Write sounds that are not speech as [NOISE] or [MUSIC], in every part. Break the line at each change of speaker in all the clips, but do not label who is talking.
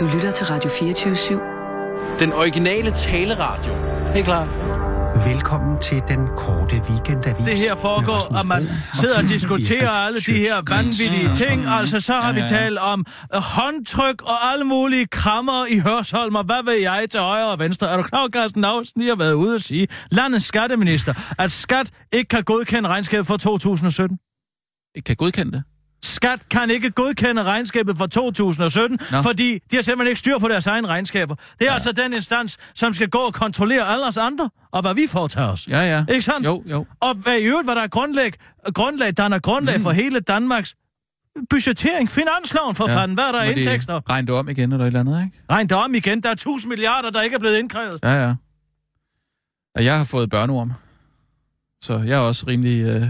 Du lytter til Radio 24 /7.
Den originale taleradio. Helt klar.
Velkommen til den korte weekendavis.
det her foregår, og man sidder og diskuterer alle de her vanvittige ting. Altså, så har vi talt om øh, håndtryk og alle mulige krammer i Hørsholm, og hvad ved jeg til højre og venstre. Er du klar, over, Carsten Lausen lige har været ude og sige, landets skatteminister, at skat ikke kan godkende regnskabet for 2017?
Ikke kan godkende det.
Skat kan ikke godkende regnskabet for 2017, Nå.
Nå.
fordi de har simpelthen ikke styr på deres egne regnskaber. Det er ja. altså den instans, som skal gå og kontrollere alle os andre, og hvad vi foretager os.
Ja, ja.
Ikke sandt?
Jo, jo.
Og hvad i øvrigt var der er grundlag, grundlag der er grundlag mm. for hele Danmarks budgettering, finansloven for ja. fanden, hvad er der af
Må de
indtægter?
Regne det om igen eller et eller andet, ikke?
Regn det om igen, der er 1000 milliarder, der ikke er blevet indkrævet.
Ja, ja. Og jeg har fået børneorm. Så jeg er også rimelig øh,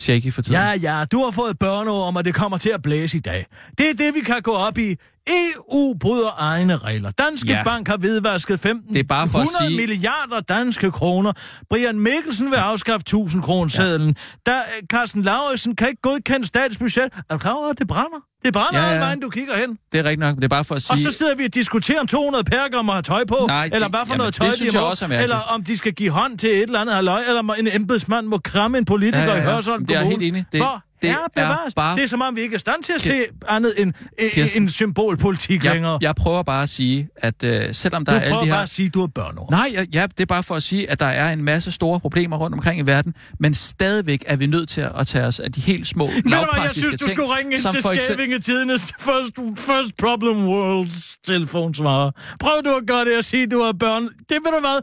shaky for tiden.
Ja, ja, du har fået børneorm, og det kommer til at blæse i dag. Det er det, vi kan gå op i. EU bryder egne regler. Danske ja.
Ja.
Bank har hvidvasket 15
Det er bare for at
100
sige-
milliarder danske kroner. Brian Mikkelsen vil afskaffe 1000 kroner sædlen. Ja. Der, eh, Carsten Lauritsen kan ikke godkende statsbudget. Er du klar over, at det brænder? Det brænder
Ja,
ja,
ja.
ja. vejen, du kigger hen.
Det er rigtigt nok, men det er bare for at sige...
Og så sidder vi og diskuterer, om 200 perker må have tøj på,
Nej,
Nej,
det-
eller hvad for
jamen,
noget
det
tøj
synes
de
jeg
må,
også er mærkeligt.
eller om de skal give hånd til et eller andet halvøj, eller om en embedsmand må kramme en politiker
Ja, ja, ja.
i Hørsholm
Det er jeg
Kommune.
helt enig. Det-
Hvor
det
herre
er
bevares.
bare-
Det er som om, vi ikke er i stand til at se
Kir-
andet end øh,
Kirsten.
en symbolpolitik længere.
jeg, jeg prøver bare at sige, at øh, selvom der er
du
alle
prøver
de her...
bare at sige, at du er børn over.
Nej, ja, ja, det er bare for at sige, at der er en masse store problemer rundt omkring i verden, men stadigvæk er vi nødt til at at tage os af de helt små
Ved du hvad, jeg
lavpraktiske
synes, du
ting,
skulle ringe ind
som
til
for eksempel-
Skævinge Tidenes first, first Problem Worlds telefonsvarer. Prøv du at gøre det og sige, at du er børn. Det ved du hvad,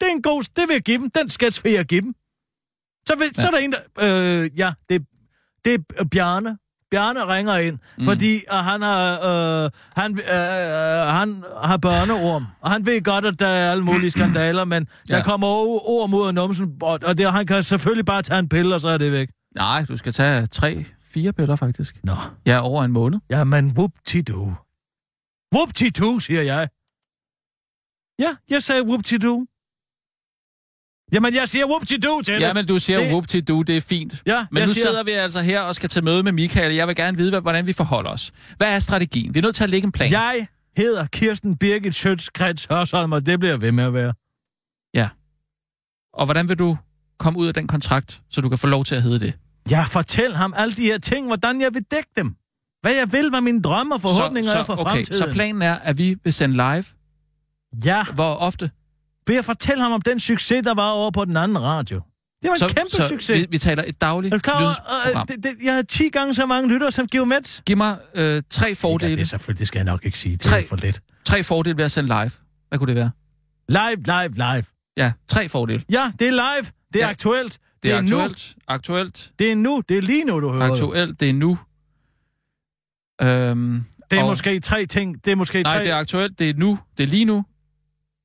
det er en god, det vil jeg give dem. Den sketch vil jeg give dem. Så, vil, ja. så er der en, der... Øh, ja, det, det er Bjarne. Bjarne ringer ind, mm. fordi uh, han, har, øh, han, øh, øh, han har børneorm, og han ved godt, at der er alle mulige skandaler, men ja. der
Ja.
kommer o- orm ud af numsen, og, og det, han kan selvfølgelig bare tage en pille, og så er det væk.
Nej, du skal tage tre, fire piller faktisk.
Nå.
Ja, over en måned.
Jamen, whoop-ti-do. Whoop-ti-do, siger jeg. Ja, jeg sagde whoop-ti-do. Jamen, jeg siger whoop-ti-do til
Ja,
det.
men du siger
det-
det... whoop til du, det er fint.
Ja,
men
jeg siger-
nu siger... sidder vi altså her og skal til møde med Michael, og jeg vil gerne vide, hvad- hvordan vi forholder os. Hvad er strategien? Vi er nødt til at lægge en plan.
Jeg hedder Kirsten Birgit Sjøtskrets Hørsholm, og det bliver jeg ved med at være.
Og hvordan vil du komme ud af den kontrakt, så du kan få lov til at hedde det?
Jeg fortæller ham alle de her ting, hvordan jeg vil dække dem. Hvad jeg vil, hvad mine drømme og forhåbninger
så,
er for
okay,
fremtiden.
Så planen er, at vi vil sende live.
Ja,
Hvor ofte?
vil jeg fortælle ham om den succes, der var over på den anden radio. Det var en
så,
kæmpe
så
succes.
Vi, vi taler et dagligt
Er du klar over, øh,
lydsprogram.
det, det, jeg havde 10 gange så mange lyttere som Geomets.
Giv mig øh, tre fordele.
Ja, det er selvfølgelig, det skal jeg nok ikke sige. Det er
Tre.
for lidt.
Tre fordele ved at sende live. Hvad kunne det være?
Live, live, live.
Ja, tre fordele. Det,
Ja, det er live. Det er ja.
Ja.
aktuelt. Det,
er
nu.
aktuelt, aktuelt,
Det er nu. Det er lige nu, du hører. Aktuelt.
aktuelt, det er nu. Øhm,
Det er
og-
måske tre ting. Det er måske
Nej,
tre...
det er aktuelt, det er nu, det er lige nu.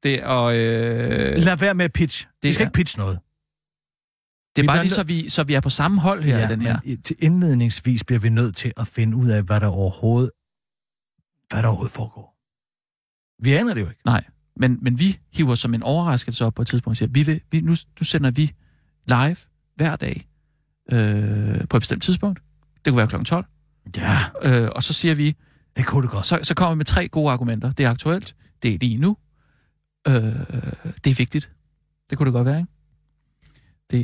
Det er, og, øh, det
Lad være med at pitch. Det vi skal
er-
ikke pitche noget.
er
vi
bare lige
bliver
så vi, så vi er på samme hold her ja, i den her.
Men i- til indledningsvis bliver vi nødt til at finde ud af, hvad der overhovedet, hvad der overhovedet foregår. Vi aner det jo ikke.
Nej, men, men vi hiver som en overraskelse op på et tidspunkt og siger, vi vil, vi, nu, nu sender vi live hver dag øh, på et bestemt tidspunkt. Det kunne være kl. 12.
Ja,
Øh, og så siger vi,
det kunne det godt.
så, så kommer vi med tre gode argumenter. Det er aktuelt, det er lige nu, øh, det er vigtigt. Det kunne det godt være, ikke? Det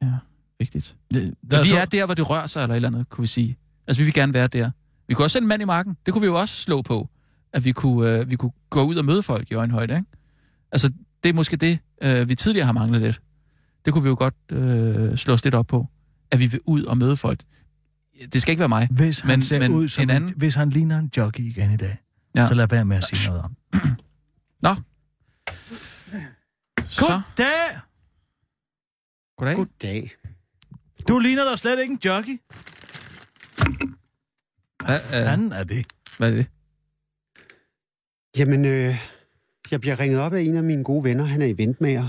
er vigtigt.
Lad
Men
os
vi
håbe-
er der, hvor det rører sig, eller et eller andet, kunne vi sige. Altså, vi vil gerne være der. Vi kunne også sende en mand i marken. Det kunne vi jo også slå på, at vi kunne, øh, vi kunne gå ud og møde folk i øjenhøjde, ikke? Altså, det er måske det, øh, vi tidligere har manglet lidt. Det kunne vi jo godt øh, slå os lidt op på, at vi vil ud og møde folk. Det skal ikke være mig.
Hvis han men,
Men-
ser men
men
ud som en
en
anden...
anden-
hvis han ligner en jockey igen i dag, ja.
Ja.
så lad være med at sige noget om. det.
[CLEARS THROAT] Nå. Så,
Goddag!
goddag.
Goddag.
Du ligner da slet ikke en jockey.
Hvad, øh,
Fanden er det?
hvad er det?
Jamen, øh, jeg bliver ringet op af en af mine gode venner. Han er eventmager.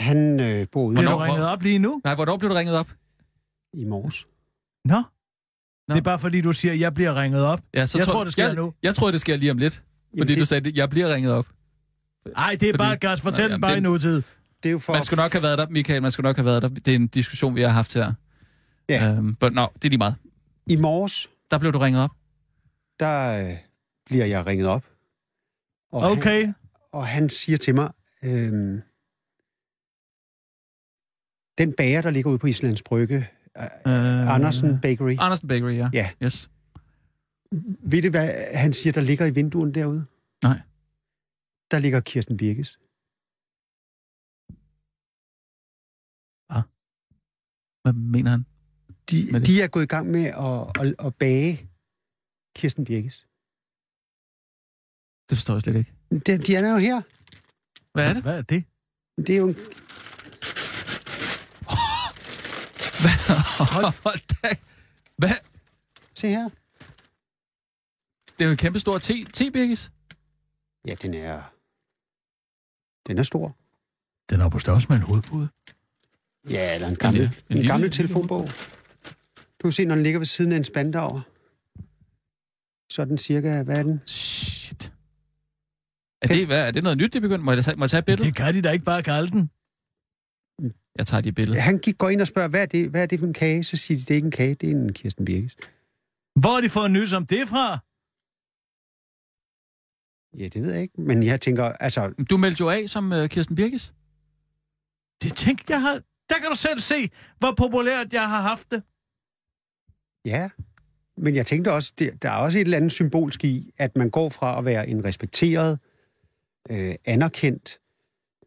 Han øh, bor ude
Bliver du
Hvornår-
ringet op lige nu?
Nej, hvornår blev du ringet op?
i morges.
Nå.
Nå.
Det er bare fordi, du siger, at jeg bliver ringet op.
Ja, så
Jeg tror, det sker
jeg,
nu.
Jeg tror, det sker lige om lidt. Fordi
Jamen, det-
du sagde, jeg bliver ringet op.
Nej, det er
Fordi-
bare gas. Fortæl
Nå,
den
jamen,
bare i
det-
nutid.
Det er jo for...
Man skulle nok have været der, Michael, man skulle nok have været der. Det er en diskussion, vi har haft her.
Ja.
Øhm, but, no, det er lige meget.
I morges,
Der blev du ringet op.
der øh, bliver jeg ringet op. Og Han,
Okay.
og han siger til mig, øhm, den bager, der ligger ude på Islands Brygge,
Øh,
Andersen Bakery,
Andersen Bakery, ja.
Ja.
Yes.
ved du, hvad han siger, der ligger i vinduerne derude?
Nej.
Der ligger Kirsten Birkes.
Hvad mener han?
De,
Men det-
de er gået i gang med at, at, at bage Kirsten Birkes.
Det forstår jeg slet ikke.
De, de er jo her.
Hvad er det?
Hvad er det?
Det er jo en
Hold da. Hvad?
Se her.
Det er jo en kæmpe stor te, tebirkes.
Ja, den er... Den er stor.
Den er på størrelse med en hovedpude.
Ja, eller en gammel,
Ja,
ja,
en
en
lille-
en gammel telefonbog. Du kan se, når den ligger ved siden af en spandauer. Så er den cirka, hvad er den?
Shit. Er det, hvad, er det noget nyt, det er begyndt? Må jeg, tage- må jeg tage et billede?
Det kan de da ikke bare kalde den.
Jeg tager dit billede.
Han gik, går ind og spørger, hvad er, det, hvad er det for en kage? Så siger de, det er ikke en kage, det er en Kirsten Birkes.
Hvor har de fået nys om det fra?
Ja, det ved jeg ikke, men jeg tænker, altså,
Du meldte jo af som uh, Kirsten Birkes.
Det tænkte jeg har... Der kan du selv se, hvor populært jeg har haft det.
ja. Men jeg tænkte også, det, der er også et eller andet symbolsk i, at man går fra at være en respekteret, øh, anerkendt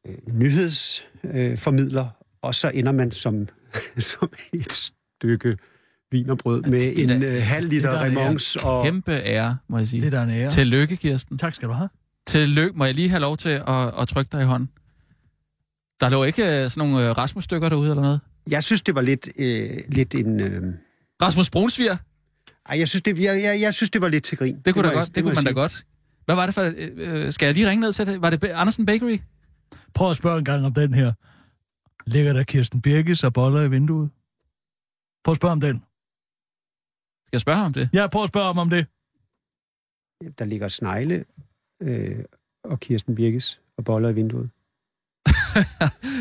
øh, nyhedsformidler, øh, formidler, og så ender man som, [LAUGHS] som et stykke vinerbrød med
det er
en
da-
øh, halv
det er
liter
da-
remons og...
Kæmpe ære, må jeg sige.
Det er da en ære.
Tillykke, Kirsten.
Tak skal du have.
Tillykke. Må jeg lige have lov til at, at trykke dig i hånden? Der lå ikke øh, sådan nogle øh, Rasmus-stykker derude eller noget?
Jeg synes, det var lidt, øh, lidt en... Øh,
Rasmus Brunsviger?
ej, jeg synes, det, jeg, jeg, jeg synes, det var lidt til grin.
Det kunne,
må
det da
jeg-
godt, det
må
kunne
jeg
man da
sige.
godt. Hvad var det for... Øh, øh, skal jeg lige ringe ned til det? Var det Ba- Andersen Bakery?
Prøv at spørge en gang om den her. Ligger der Kirsten Birkes og boller i vinduet? Prøv at spørge om den.
Skal jeg spørge ham om det?
Ja, prøv at spørge ham om det.
Der ligger snegle øh, og Kirsten Birkes og boller i vinduet.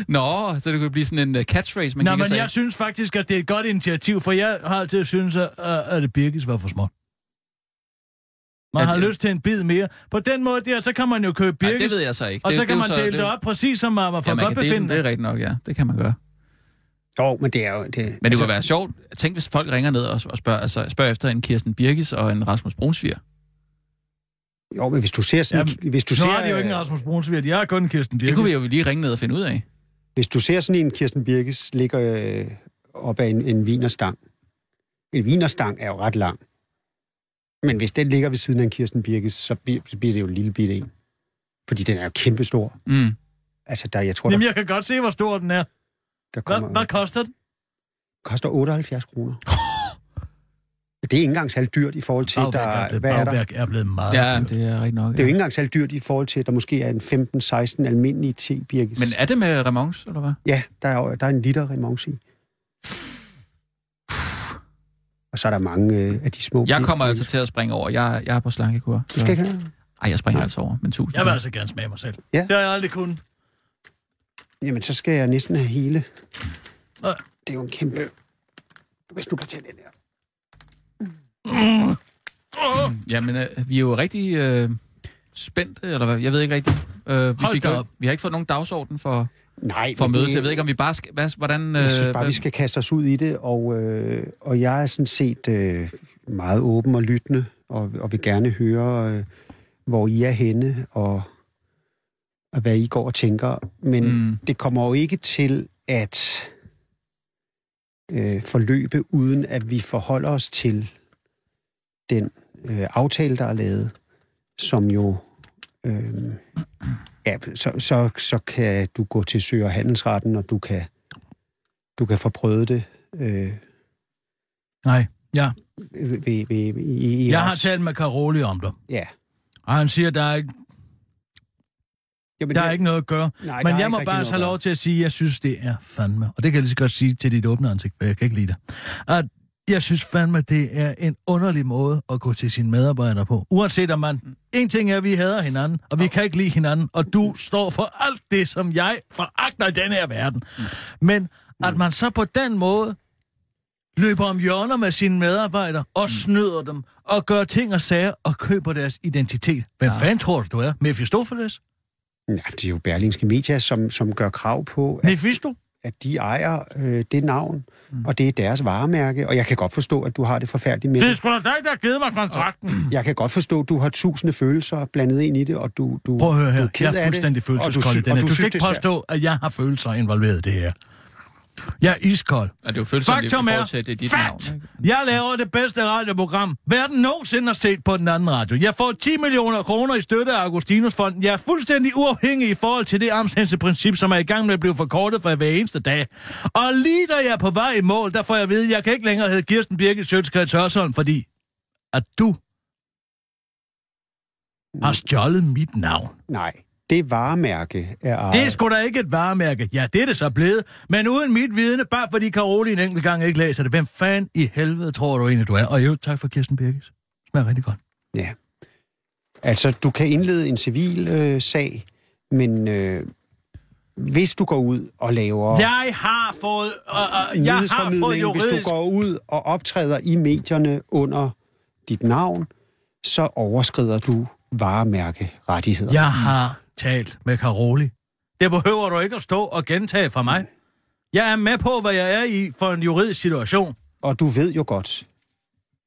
Nå, så det kunne blive sådan en øh, catchphrase, man
Nå,
gik og
men
sagde.
jeg synes faktisk, at det er et godt initiativ, for jeg har altid syntes, at, at det Birkes var for småt. Man
At-
har lyst til en bid mere. På den måde der, så kan man jo købe
Ej,
Birkes,
det ved jeg så ikke.
og
det,
så kan
det, er
man
jo
dele det op, præcis som man, man får
Ja, man
godt
kan dele den,
befinde.
det er rigtigt nok, ja. Det kan man gøre. Altså-
Jo, men det altså, er jo... Det, men
Men det kunne være sjovt. Tænk, hvis folk ringer ned og, og spørger, altså, spørger efter en Kirsten Birkes og en Rasmus Brunsviger.
Jo, men hvis du ser sådan,
Jamen,
hvis du
Nu
ser, øh,
har de jo ikke en Rasmus Brunsviger, de har kun en Kirsten Birkes.
øh, Det kunne vi jo lige ringe ned og finde ud af.
hvis du ser sådan en Kirsten Birkes ligger øh, op ad en, en vinerstang. En vinerstang er jo ret lang. Men hvis den ligger ved siden af en Kirsten Birkes, så bliver, så bliver det jo en lille bitte en. Fordi den er jo kæmpestor.
Mm.
Altså, der, jeg tror,
Jamen,
der,
jeg kan godt se, hvor stor den er.
der
Hvad,
kommer...
hvad koster den?
koster 78
[LAUGHS]
kroner. Det er ikke engang særlig dyrt i forhold til, der,
Bagværk er blevet,
hvad er der?
bagværk er blevet meget
Ja,
dyrt.
men Ah, det er rigtigt nok.
Det er
Ja.
jo ikke engang særlig dyrt i forhold til, at der måske er en 15-16 almindelige tebirkes.
Men er det med Remons, eller hvad?
Ja, der er, jo- der er en liter remons i. Og så er der mange øh, af de små...
Jeg kommer altså til at springe over. Jeg, jeg er på slankekur.
Du skal ikke have...
Ej, jeg springer altså over, men tusind.
Jeg vil
tak.
altså gerne smage mig selv.
Ja.
Det har jeg aldrig kunnet.
Jamen, så skal jeg næsten have hele.
Øh.
Nej.
Det er jo en kæmpe... Hvis du kan tage den der.
Åh,
Jamen, øh, vi er jo rigtig øh, spændte, eller hvad? Jeg ved ikke rigtigt. Øh, vi,
Hold
fik
da
jo,
op.
vi har ikke fået nogen dagsorden for,
Nej,
for
men
mødet.
det-
så Jeg ved ikke, om vi bare skal... Hvad, hvordan, øh,
Jeg synes bare,
hvad-
vi skal kaste os ud i det, og, øh, og jeg er sådan set øh, meget åben og lyttende, og, og vil gerne høre, øh, hvor I er henne, og, og hvad I går og tænker. Men
Mm.
mm. det kommer jo ikke til at øh, forløbe, uden at vi forholder os til den øh, aftale, der er lavet, som jo... Øh, ja, så, så, så kan du gå til Sø- og Handelsretten, og du kan du kan få prøvet det øh,
Nej,
ved, ved, ved, i, i
jeg har
jeres-
talt med Karoli om det.
Ja.
Og han siger, der er ikke,
Jamen,
der er ikke noget at gøre.
nej,
Men
der er
jeg må
ikke
bare
rigtig
have
noget
lov til at sige, at jeg synes, det er fandme. Og det kan jeg lige så godt sige til dit åbne ansigt, for jeg kan ikke lide det. At jeg synes fandme, det er en underlig måde at gå til sine medarbejdere på. Uanset om man... En ting er, at vi hader hinanden, og vi kan ikke lide hinanden, og du står for alt det, som jeg foragter i den her verden. Men at man så på den måde løber om hjørner med sine medarbejdere og snyder dem og gør ting og sager og køber deres identitet. Hvem ja. fanden tror du, du er? Mephistopheles?
Ja, det er jo Berlingske Media, som, som gør krav på, at,
Mephisto?
at de ejer øh, det navn, mm. og det er deres varemærke. Og jeg kan godt forstå, at du har det forfærdeligt med
Det er
det.
sgu da dig, der har givet mig kontrakten.
Jeg kan godt forstå, at du har tusinde følelser blandet ind i det, og du, du,
Prøv at høre
du
her.
er ked
Jeg
af
er fuldstændig
det, og du
følelseskold i
sy- og
den her. Du
synes,
skal
det
ikke
er svært.
påstå, at jeg har følelser involveret i det her. Jeg er iskold.
Ja, det er jo følsomt, at vi
Faktum
kan
er,
foretage det i dit navn.
fact,
ikke?
jeg laver det bedste radioprogram, verden nogensinde har set på den anden radio. Jeg får 10 millioner kroner i støtte af Augustinusfonden. Jeg er fuldstændig uafhængig i forhold til det armslængdeprincip, som er i gang med at blive forkortet for hver eneste dag. Og lige da jeg er på vej i mål, der får jeg at vide, at jeg kan ikke længere hedde Kirsten Birgit Sjøtskrets Hørsholm, fordi at du har stjålet mit navn.
Nej, det varemærke er ejet.
Det er sgu da ikke et varemærke. Ja, det er det så blevet. Men uden mit vidne, bare fordi Karoli en enkelt gang ikke læser det. Hvem fanden i helvede tror du egentlig, du er? Og jo, tak for Kirsten Birkes. Smager rigtig godt.
Ja. Altså, du kan indlede en civil øh, sag, men øh, hvis du går ud og laver
Jeg har fået... Øh, øh, jeg har fået
nyhedsformidling, hvis
juridisk...
du går ud og optræder i medierne under dit navn, så overskrider du varemærkerettigheder.
Jeg har talt med Karoli. Det behøver du ikke at stå og gentage fra mig. Jeg er med på, hvad jeg er i for en juridisk situation.
Og du ved jo godt,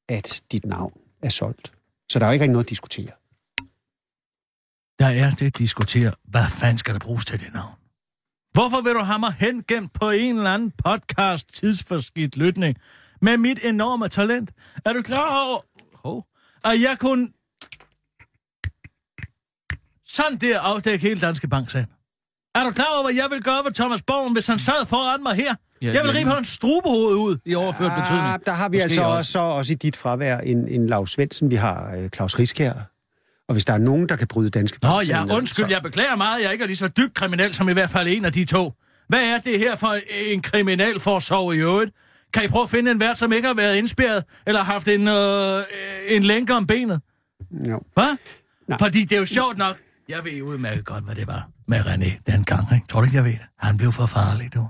at dit navn er solgt. Så der er jo ikke rigtig noget at diskutere.
Der er det at diskutere, hvad fanden skal der bruges til det navn? Hvorfor vil du have mig hengemt på en eller anden podcast tidsforskidt lytning med mit enorme talent? Er du klar over, oh, at jeg kunne sådan der afdække hele Danske Bank sagen? Er du klar over, hvad jeg vil gøre ved Thomas Borgen, hvis han sad foran mig her? Ja, jeg vil
ja.
rive hans strubehoved ud i overført betydning.
Ah, der har vi
Måske
altså
også.
også, så også i dit fravær en, en Lav Svendsen, vi har øh, Claus Riskær. Og hvis der er nogen, der kan bryde danske
Nå
grænser ned,
ja, undskyld,
så-
jeg beklager meget, jeg ikke er lige så dybt kriminel som i hvert fald en af de to. Hvad er det her for en kriminalforsorg i øvrigt? Kan I prøve at finde en vært, som ikke har været indspærret, eller haft en, øh, en lænke om benet?
Jo.
Hvad?
Nej.
Fordi det er jo sjovt nok. Jeg ved udmærket godt, hvad det var med René dengang, ikke? Tror du ikke, jeg ved det? Han blev for farlig, du.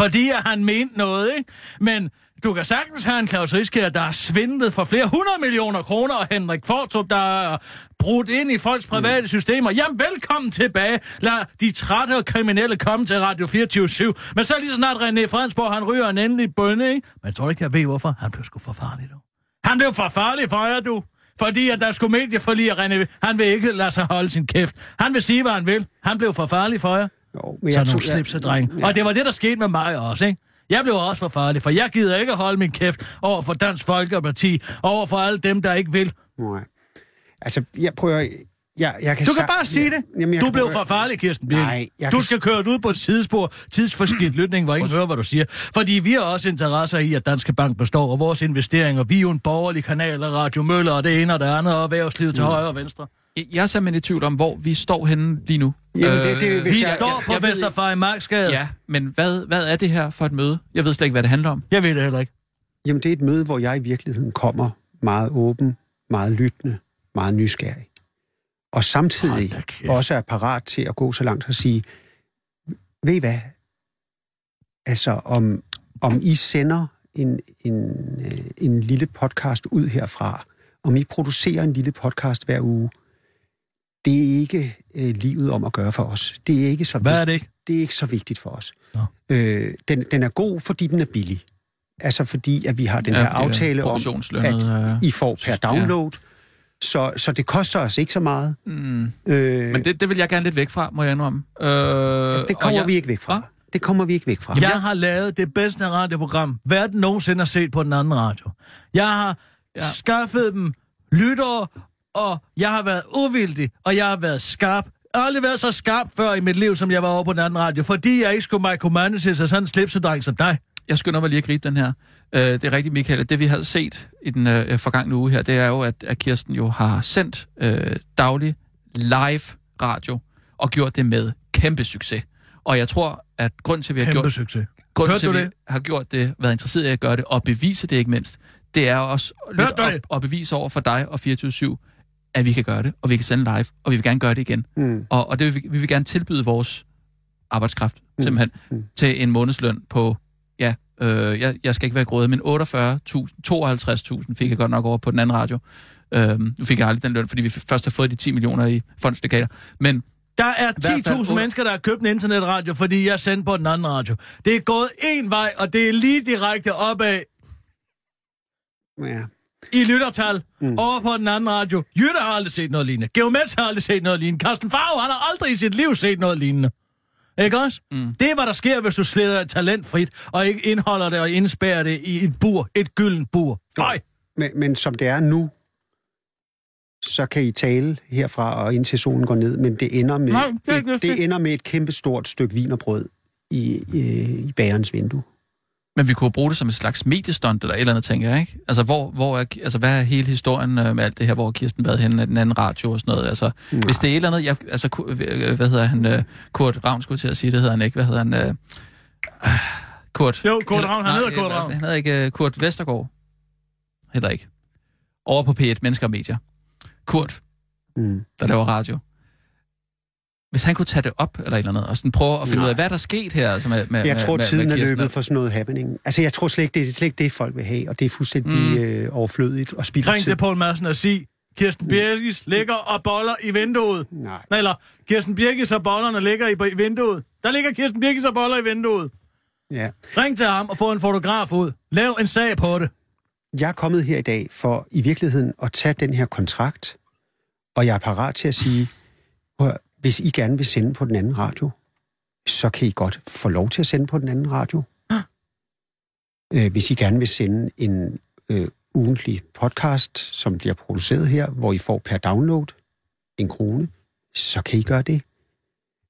Fordi at han mente noget, ikke? Men du kan sagtens have en Claus Riskær, der har svindlet for flere hundrede millioner kroner, og Henrik Fortrup, der er brudt ind i folks private systemer. Jamen, velkommen tilbage. Lad de trætte og kriminelle komme til Radio 24 Men så lige så snart René Fransborg, han ryger en endelig bønne, ikke? Men tror du ikke, jeg ved, hvorfor? Han blev sgu for farlig, du. Han blev for farlig for jer, du. Fordi at der skulle medieforlig, og René, han vil ikke lade sig holde sin kæft. Han vil sige, hvad han vil. Han blev for farlig for jer.
Jo, men
Så
jeg
nogle
tror- jeg-
slipser, dreng.
Ja.
Og det var det, der skete med mig også, ikke? Jeg blev også for farlig, for jeg gider ikke holde min kæft over for Dansk Folkeparti, over for alle dem, der ikke vil.
Nej. Altså, jeg prøver... Jeg, jeg kan
Du kan
sa-
bare sige det.
jeg
Du
kan
blev
prøve-
for farlig, Kirsten Birgit.
Nej, jeg
Du
kan-
skal køre ud på et sidespor, tidsforskidt lytning, hvor ingen hører, hvad du siger. Fordi vi har også interesser i, at Danske Bank består, og vores investeringer. Vi er jo en borgerlig kanal, og Radio Møller, og det ene og det andet, og erhvervslivet
Mm.
til højre og venstre.
Jeg- Jeg er simpelthen i tvivl om, hvor vi står henne lige nu. Øh,
Jamen, det- det- hvis
Vi
jeg-
står
jeg-
på
jeg ved
Vesterfej Marksgade.
Ja, men hvad, hvad er det her for et møde? Jeg ved slet ikke, hvad det handler om.
Jeg ved det heller ikke.
Jamen, det er et møde, hvor jeg i virkeligheden kommer meget åben, meget lyttende, meget nysgerrig. Og samtidig
Hold da kæft.
også er parat til at gå så langt og sige, ved I hvad? Altså, om, om I sender en, en, øh, en lille podcast ud herfra, om I producerer en lille podcast hver uge, det er ikke øh, livet om at gøre for os. Det er ikke så
Hvad er det
vigtigt. Det er ikke så vigtigt for os.
Nå.
Øh, den, den er god, fordi den er billig. Altså fordi, at vi har den
Ja,
her
fordi det er
aftale om,
proportionslønnet,
at
øh,
I får per download. Så, så det koster os ikke så meget.
Mm.
Øh,
Men det, det vil jeg gerne lidt væk fra, må jeg indrømme. Øh,
det kommer
og jeg,
vi ikke væk fra.
Hva?
Det kommer vi ikke væk fra.
Jamen, jeg har lavet det bedste radioprogram, verden nogensinde har set på den anden radio. Jeg har ja.
Ja.
skaffet dem lyttere, og jeg har været uvildig, og jeg har været skarp. Jeg har aldrig været så skarp før i mit liv, som jeg var over på den anden radio, fordi jeg ikke skulle micromanages af sådan en slipsedreng som dig.
jeg skynder mig lige at gribe den her. Øh, det er rigtigt, Michael. at Det, vi havde set i den øh, forgangne uge her, det er jo, at, at Kirsten jo har sendt øh, daglig live radio og gjort det med kæmpe succes. Og jeg tror, at grund til, at vi har
Kæmpe
gjort
succes.
Grunden
Hørte
til,
du
at vi
det?
har gjort det, været interesseret i at gøre det, og bevise det ikke mindst, det er også lidt
Hørte du
at,
det?
at bevise over for dig og 24-7, at vi kan gøre det, og vi kan sende live, og vi vil gerne gøre det igen.
Mm.
Og, og det vil vi, vi vil gerne tilbyde vores arbejdskraft, simpelthen, mm. til en månedsløn på, ja, Øh, jeg, jeg skal ikke være grådig, men 48.000, 52.000 fik jeg godt nok over på den anden radio. Øh, nu fik jeg aldrig den løn, fordi vi først har fået de 10 millioner i fondsdekater. Men
Der er
hvert fald
10.000
under-
mennesker, der har købt en internetradio, fordi jeg sendte på den anden radio. Det er gået én vej, og det er lige direkte opad
Ja.
i lyttertal mm. over på den anden radio. Jytte har aldrig set noget lignende. Geomets har aldrig set noget lignende. Carsten Farve, han har aldrig i sit liv set noget lignende. Ikke også? Mm. Det er, hvad der sker, hvis du sletter et talent frit, og ikke indholder det og indspærrer det i et bur, et gyldent bur. Fej!
Men, men som det er nu, så kan I tale herfra og indtil solen går ned, men det ender med,
Nej, det
et,
er ikke
det
nødvendigt.
ender med et kæmpe stort stykke vinerbrød i, i, i bagerens vindue.
Men vi kunne bruge det som et slags mediestunt eller et eller andet, tænker jeg, ikke? Altså, hvor, hvor er, altså hvad er hele historien øh, med alt det her, hvor har Kirsten været henne af den anden radio og sådan noget? Altså, hvis det er et eller andet, jeg, altså, ku- øh, hvad hedder han, øh, Kurt Ravn skulle jeg til at sige, det hedder han ikke, hvad hedder han, øh, [SIGHS] ah, Kurt?
Jo, Kurt Ravn, han
Nej,
hedder Kurt
øh,
Ravn.
Han hedder ikke øh, Kurt Vestergaard, heller ikke. Over på P1, Mennesker og Medier. Kurt,
Mm.
der laver radio. Hvis han kunne tage det op eller et eller andet, og sådan prøve at finde
Nej.
ud af, hvad der er sket her altså med, med,
Jeg
med,
tror,
med,
tiden
med
er
Kirsten og-
løbet for sådan noget happening. Altså, jeg tror slet ikke, det er, det er slet ikke det, folk vil have, og det er fuldstændig
Mm.
øh, overflødigt og spild af
Ring
tid.
til Poul Madsen og sig, Kirsten Birgis ligger og boller i vinduet.
Nej.
Nej, eller Kirsten Birgis og bollerne ligger i i vinduet. Der ligger Kirsten Birgis og boller i vinduet.
Ja.
Ring til ham og få en fotograf ud. Lav en sag på det.
Jeg er kommet her i dag for i virkeligheden at tage den her kontrakt, og jeg er parat til at sige, prøv at høre, hvis I gerne vil sende på den anden radio, så kan I godt få lov til at sende på den anden radio. Øh, Hvis I gerne vil sende en øh, ugentlig podcast, som bliver produceret her, hvor I får per download en krone, så kan I gøre det.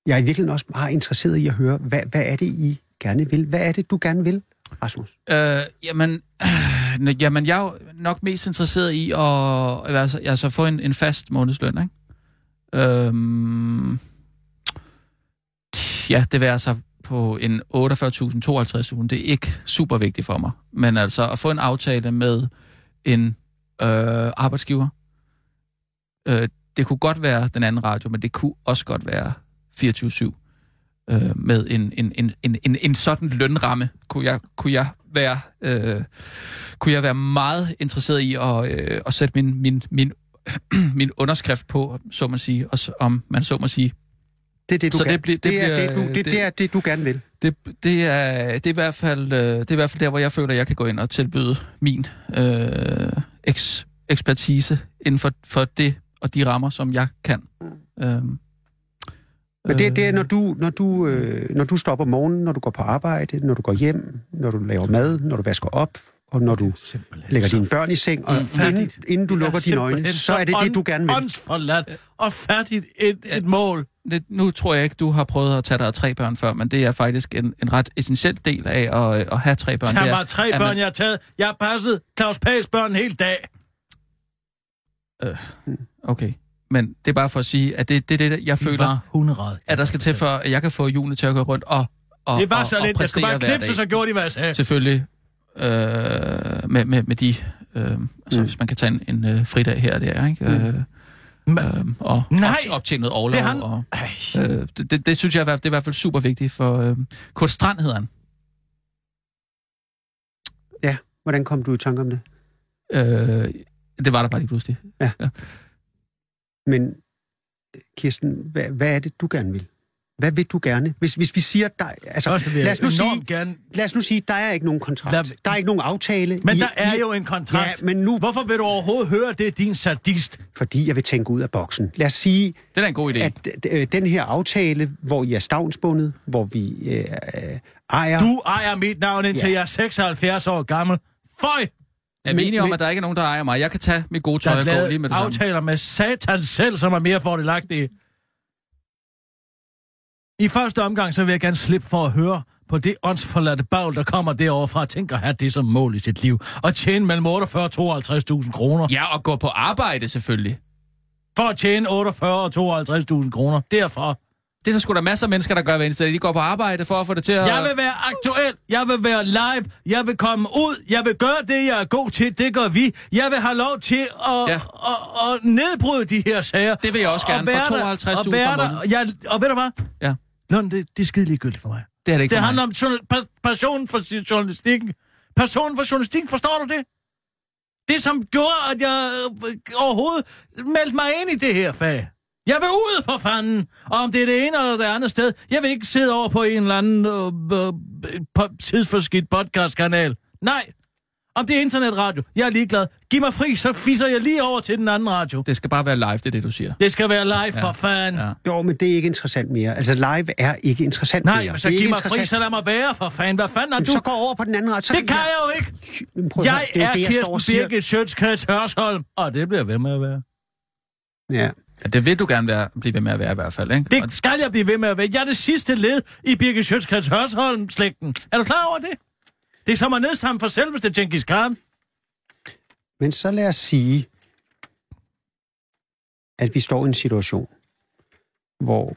Jeg er i virkeligheden også meget interesseret i at høre, hvad, hvad er det, I gerne vil? Hvad er det, du gerne vil, Rasmus?
Øh, jamen, [CLEARS THROAT] øh, nå, jamen, jeg er jo nok mest interesseret i at altså, altså få en, en fast månedsløn, ikke? Øhm, ja, det vil altså på en 48.000-52.000, det er ikke super vigtigt for mig. Men altså at få en aftale med en øh, arbejdsgiver, øh, det kunne godt være den anden radio, men det kunne også godt være 24-7 øh, med en, en, en, en, en, en sådan lønramme, kunne jeg, kunne jeg være... Øh, kunne jeg være meget interesseret i at, øh, at sætte min, min, min, [CLEARS THROAT] min underskrift på, så man sige, og, s- om man så må sige.
Det er det, du
Så
gerne.
det bliver- det
er
bliver-
det, du, det,
det-
det, er det, du gerne vil.
Det, det, er, det, er i hvert fald, øh, det er i hvert fald der, hvor jeg føler, at jeg kan gå ind og tilbyde min øh, eks, ekspertise inden for, for det og de rammer, som jeg kan. Øhm,
Men det,
øh,
det er, når du, når, du, øh, når du står op om morgenen, når du går på arbejde, når du går hjem, når du laver mad, når du vasker op, og når du
Simpelthen.
lægger dine børn i seng, og inden,
Fattigt.
inden du
Det er
lukker dine øjne,
simpelthen
så er det det, du
ånd-
gerne vil.
Åndsforladt og fattigt et, et mål.
det, nu tror jeg ikke, du har prøvet at tage dig af tre børn før, men det er faktisk en, en ret essentiel del af at, at have tre børn.
Der
det er,
var tre
at
børn, jeg har taget. Jeg har passet Claus Pags børn en hel dag.
Okay, men det er bare for at sige, at det det er det, jeg
Det
føler,
var hunderad.
at der skal til for, at jeg kan få julene til at gå rundt og, og
Det var
og,
så
og
lidt. Jeg skulle bare
præstere hver
knipse,
dag.
så gjorde de, hvad jeg sagde.
Selvfølgelig øh, med, med, med de... Øh, altså, mm. hvis man kan tage en, en øh, fridag her og der, ikke? Øh, øh, og
Nej!
op, optjene noget
Det er
overlov.
han.
Og,
Ej,
øh, det, det, det synes jeg, er i hvert- det er i hvert fald super vigtigt for... Øh, Kurt Strand hedder han.
Hvordan kom du i tanke om det?
Øh, det var der bare lige pludselig.
Men Kirsten, hvad, hvad er det, du gerne vil? Hvad vil du gerne? Hvis, hvis vi siger, der, altså,
Først vil jeg
lad os nu
enormt
sige-
gerne.
lad os nu sige, der er ikke nogen kontrakt.
Lad-
Der er ikke nogen aftale.
Men
I-
der er
I-
jo en kontrakt.
Ja, men nu,
Hvorfor vil du overhovedet høre det, din sadist?
fordi jeg vil tænke ud af boksen. Lad os sige,
Det er en god idé.
at øh, den her aftale, hvor I er stavnsbundet, hvor vi øh, øh, ejer...
Du ejer mit navn, indtil
Ja.
jeg er 76 år gammel. Føj!
er vi
men-
enige om,
men-
at der ikke er nogen, der ejer mig? Jeg kan tage mit gode
Der
tøj og
er
gå lige
lavet
med det samme.
aftaler med satan selv, som er mere fordelagtige. I første omgang, så vil jeg gerne slippe for at høre på det åndsforladte bagl, der kommer derovre fra. Tænk at have det som mål i sit liv. Og tjene mellem 48 og 52.000 kroner.
Ja, og gå på arbejde selvfølgelig.
For at tjene 48 og 52.000 kroner. Derfor.
Det er der sgu da masser af mennesker, der gør hver eneste dag. De går på arbejde for at få det til at...
Jeg vil være aktuel. Jeg vil være live. Jeg vil komme ud. Jeg vil gøre det, jeg er god til. Det gør vi. Jeg vil have lov til at, ja.
Ja.
at, at nedbryde de her sager.
Det vil jeg også
Og
gerne. For
være der-
52.000
og være
om
der.
måneden.
Jeg, og ved du hvad?
Ja.
Lund, det, det er skide ligegyldigt for mig.
Det er det ikke
Det
for
handler
mig.
om journal- pas- passionen for si- journalistikken. Passionen for journalistikken, forstår du det? Det, som gjorde, at jeg øh, overhovedet meldte mig ind i det her fag. Jeg vil ud for fanden, og om det er det ene eller det andet sted. Jeg vil ikke sidde over på en eller anden øh, øh, po- tidsforskidt podcastkanal. Nej, om det er internetradio. Jeg er ligeglad. Giv mig fri, så fisser jeg lige over til den anden radio.
Det skal bare være live, det er det, du siger.
Det skal være live, for fanden.
ja.
Jo, men det er ikke interessant mere. Altså, live er ikke interessant mere.
Nej, men så
det er
giv
ikke
mig fri,
interessant.
så lad mig være, for fanden. Hvad fanden har
Jamen,
du?
Så går over på den anden ret. Så
Det kan jeg jo ikke.
Men prøv at høre,
Jeg
det er,
er
jo det, jeg står og
Kirsten
siger.
Birgit Sjøtskrets Hørsholm, og det bliver ved med at være.
Ja.
ja. det vil du gerne være, blive ved med at være i hvert fald, ikke? Og
Det skal jeg blive ved med at være. Jeg er det sidste led i Birgit Sjøtskrets Hørsholm-slægten. Er du klar over det? Det er som at nedstamme for selveste Genghis Khan.
Men så lad os sige, at vi står i en situation, hvor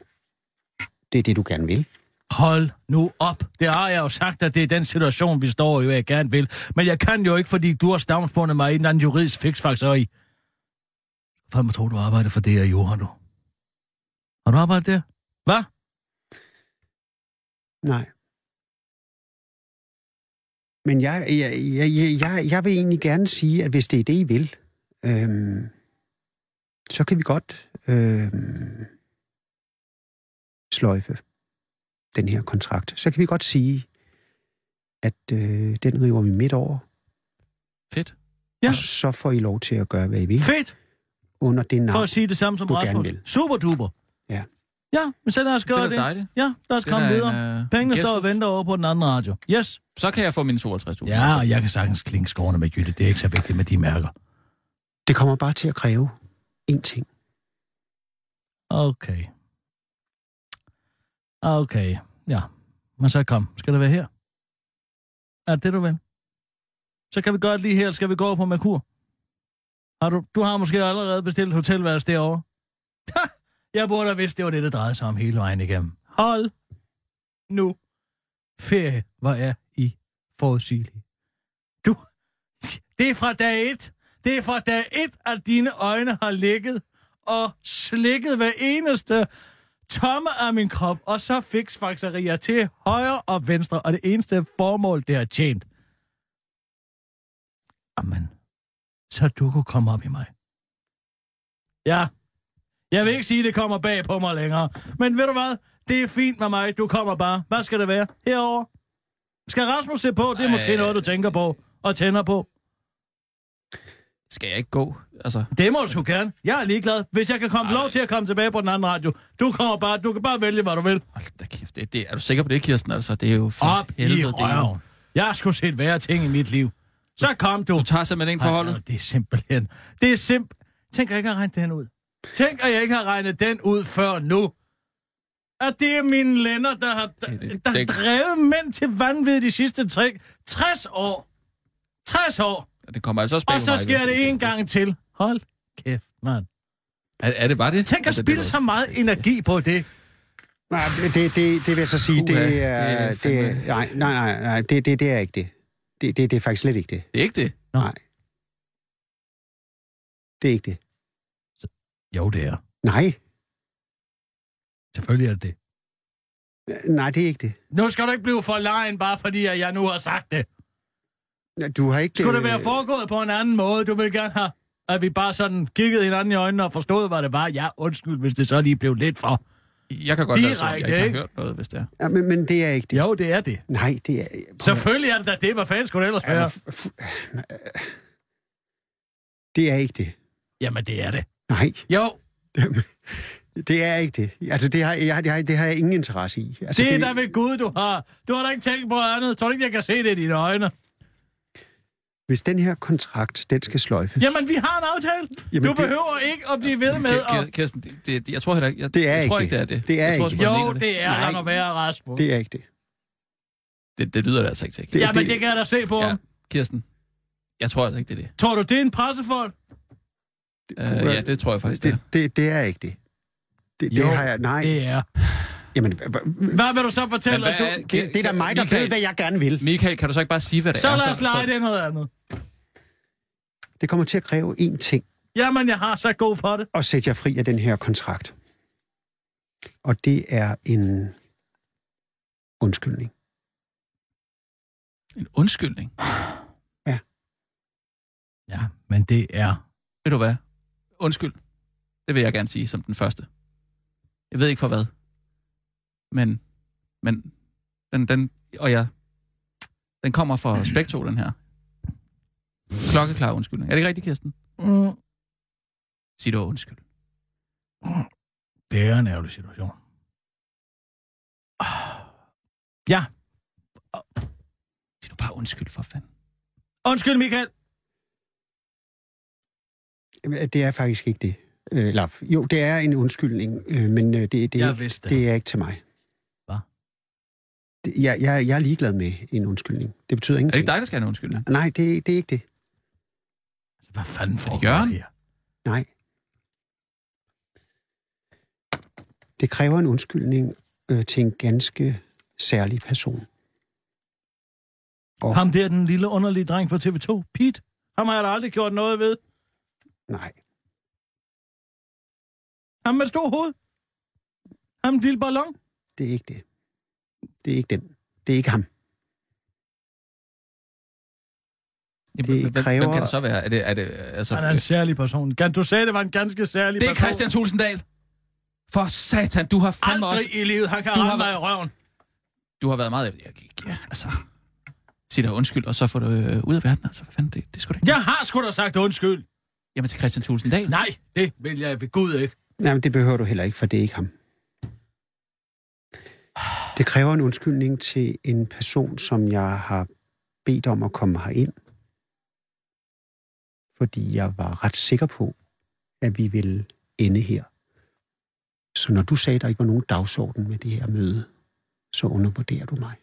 det er det, du gerne vil.
Hold nu op. Det har jeg jo sagt, at det er den situation, vi står i, hvad jeg gerne vil. Men jeg kan jo ikke, fordi du har stavnsbundet mig i en eller anden juridisk fiksfaktor i. Hvad man tror, du arbejder for det her jord, du? Har du arbejdet der? Hvad?
Nej. Men jeg, jeg, jeg, jeg- jeg, jeg vil egentlig gerne sige, at hvis det er det, I vil, øhm, så kan vi godt øhm, sløjfe den her kontrakt. Så kan vi godt sige, at øh, den river vi midt over,
Fedt.
Ja.
og så får I lov til at gøre, hvad I vil,
Fedt.
under det
for
navn.
at sige det samme som
du gerne
Rasmus.
vil.
Super duper.
Ja.
Ja, men så lad os
Det
gøre
er
det.
da dejligt.
Ja, lad os
Det er
komme
da en,
videre.
øh, en
Pengene står og
gestus.
venter over på den anden radio. Yes.
Så kan jeg få mine 52.000.
Ja, og jeg kan sagtens klinke skårene med Jytte. Det er ikke så vigtigt med de mærker.
Det kommer bare til at kræve én ting.
Okay. Okay, ja. Men så kom. Skal det være her? Er det det, du vil? Så kan vi godt lige her, eller skal vi gå over på Merkur. Har du, du har måske allerede bestilt hotelværelse derovre. Ha! Jeg burde have vidst, det var det, det drejede sig om hele vejen igennem. Hold nu ferie, hvor er I forudsigelige. Du, det er fra dag et. Det er fra dag et, at dine øjne har ligget og slikket hver eneste tomme af min krop, og så fiksfakserier til højre og venstre, og det eneste formål, det har tjent. Amen. Så du kunne komme op i mig. Ja. Jeg vil ikke sige, det kommer bag på mig længere. Men ved du hvad? Det er fint med mig. Du kommer bare. Hvad skal det være? Herover. Skal Rasmus se på? Det er måske
Ej.
noget, du tænker på og tænder på.
Skal jeg ikke gå? Altså,
Det må du sgu gerne. Jeg er ligeglad. Hvis jeg kan komme lov til at komme tilbage på den anden radio. Du kommer bare, du kan bare vælge, hvad du vil.
hold da kæft. Det, det, er du sikker på det, Kirsten? Altså, det er jo for
Op i
helvede. det er jo-
røven. Jeg har sgu set værre ting i mit liv. Så kom du.
Du tager simpelthen ikke forholdet.
Ej, det er simpelthen... Det er simp... Tænk, at jeg ikke har regnet den ud. Tænk, at jeg ikke har regnet den ud før nu. At det er mine lænder, der har, der,
Det- det-
der har
det-
drevet mænd til vanvid de sidste tre, 60 år. 60 år.
Det kommer altså også bag
Og
på
så
mig,
sker
hvis-
det en gang til. Hold kæft, mand.
Er, er det bare det?
Tænk
Er
at
Altså, det
spille
det,
så meget energi på det.
Nej, men det, det, det vil jeg så sige,
Uha,
det er...
det er fandme-
Det, nej, nej, nej, nej det, det, det er ikke det. Det, det. det er faktisk slet ikke det.
Det er ikke det.
Nej. Det er ikke det.
Jo, det er.
Nej,
Selvfølgelig er det det.
nej, det er ikke det.
Nu skal du ikke blive for lejen, bare fordi at jeg nu har sagt det.
Du har ikke...
Skulle
øh,
det være foregået på en anden måde? Du vil gerne have, at vi bare sådan kiggede hinanden i øjnene og forstod, hvad det var. Ja, undskyld, hvis det så lige blev lidt for.
Jeg kan godt lade som, jeg
Direkte,
ikke
ikke?
har hørt noget, hvis det er.
Ja, men, men det er ikke det.
Jo, det er det.
Nej, det er... prøv at-
Selvfølgelig er det da det. Hvad fanden skulle det ellers
Ja,
være?
f- f- Det er ikke det.
Jamen, det er det.
Nej, [LAUGHS]
Jo,
det er ikke det. Altså, det har jeg, det har, det har jeg ingen interesse i. Altså,
det er da ved Gud, du har. Du har da ikke tænkt på andet. Tror du ikke, jeg kan se det i dine øjne?
Hvis den her kontrakt, den skal sløjfes...
Jamen, vi har en aftale.
Jamen,
du
det-
behøver ikke at blive ved med
Kir-
at...
Kir- Kirsten, det, det, jeg tror heller ikke, jeg,
Det er
jeg tror
ikke
ikke, det er det.
Det er
jeg tror,
ikke
sgu, han
Jo,
mener det.
det er. Lad mig være, Rasmus.
Det er ikke det.
Det, det lyder det altså ikke til.
Det-
Jamen, det kan jeg da se på
Ja,
ham.
Kirsten, jeg tror altså ikke, det er det.
Tror du, det er en pressefolk?
Øh, ja, det tror jeg faktisk, det,
Det, det, det er ikke det. Det, det
Jo,
har jeg... Nej,
Det er.
jamen... hva- hva-
Hvad vil du så fortælle?
Men
at
hvad
du...
er-
Det, det er da mig, der
Michael-
ved, hvad jeg gerne vil.
Michael, kan du så ikke bare sige, hvad det
Så
er? Altså,
lad os lege
for-
det er noget andet.
Det kommer til at kræve én ting,
Jamen, jeg har så god for det.
at sætte jer fri af den her kontrakt. Og det er en undskyldning.
En undskyldning.
Ja, men det er...
Ved du hvad? Undskyld. Det vil jeg gerne sige som den første. Jeg ved ikke for hvad. Men, men den, den, og jeg, den kommer fra Spektro, den her. Klokkeklar undskyldning. Er det ikke rigtigt, Kirsten?
Mm,
Sig du undskyld.
det er en ærgerlig situation. Ah. Ja,
Sig du bare undskyld for fanden.
undskyld Michael.
Jamen, Det er faktisk ikke det. Øh, Eller, jo, det er en undskyldning, øh, men øh, det, det, er
Jeg
ikke-
vidste det.
det er ikke til mig.
Hvad?
Det- Jeg, jeg, jeg er ligeglad med en undskyldning. Det betyder
Er det
ingenting.
ikke dig, der skal have en undskyldning?
Nej, det, det er ikke det.
Altså, hvad fanden får
Jørgen?
her?
Nej. Det kræver en undskyldning øh, til en ganske særlig person. Og,
Ham der, den lille underlige dreng fra TV2, Pete. Ham har jeg da aldrig gjort noget ved.
Nej,
Ham med stor hoved. Ham med lille ballon.
det er ikke det. Det er ikke den. Det er ikke ham.
Jamen,
Det
hvem- hvem,
kræver-
hvem kan det så være? Er det, er det, altså,
Han er en særlig person. Kan du sagde, det var en ganske særlig
det er
person?
Christian Tulsendal. For satan, du har fandme
Aldrig
også...
i livet, han kan
Du har
ramme dig i
været-
røven.
Du har været meget... Jeg, jeg, jeg, altså, sig dig undskyld, og så får du øh, ud af verden. Altså, hvad fanden, det, det skulle da ikke...
Jeg har sgu da sagt undskyld.
Jamen til Christian Tulsendal.
Nej, det vil jeg ved Gud ikke.
Nej, men det behøver du heller ikke, for det er ikke ham. Det kræver en undskyldning til en person, som jeg har bedt om at komme herind. Fordi jeg var ret sikker på, at vi ville ende her. Så når du sagde, at der ikke var nogen dagsorden med det her møde, så undervurderer du mig.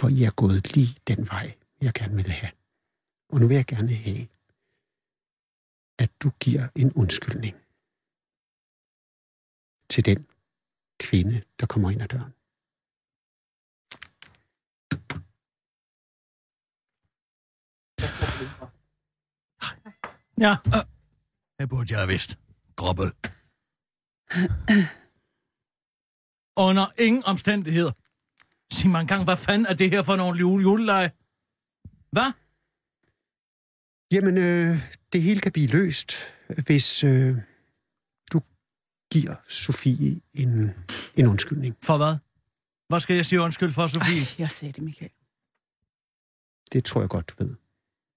For I er gået lige den vej, jeg gerne ville have. Og nu vil jeg gerne have, at du giver en undskyldning til den kvinde, der kommer ind ad døren.
Ja. Øh. Det burde jeg have vidst. Grobbel. [CLEARS THROAT] Under ingen omstændigheder. Sig mig engang, hvad fanden er det her for nogle jule- juleleje? Hvad?
Jamen, øh, det hele kan blive løst, hvis øh, du giver Sofie en, en undskyldning.
For hvad? Hvad skal jeg sige undskyld for, Sofie?
Jeg sagde det, Michael.
Det tror jeg godt, du ved.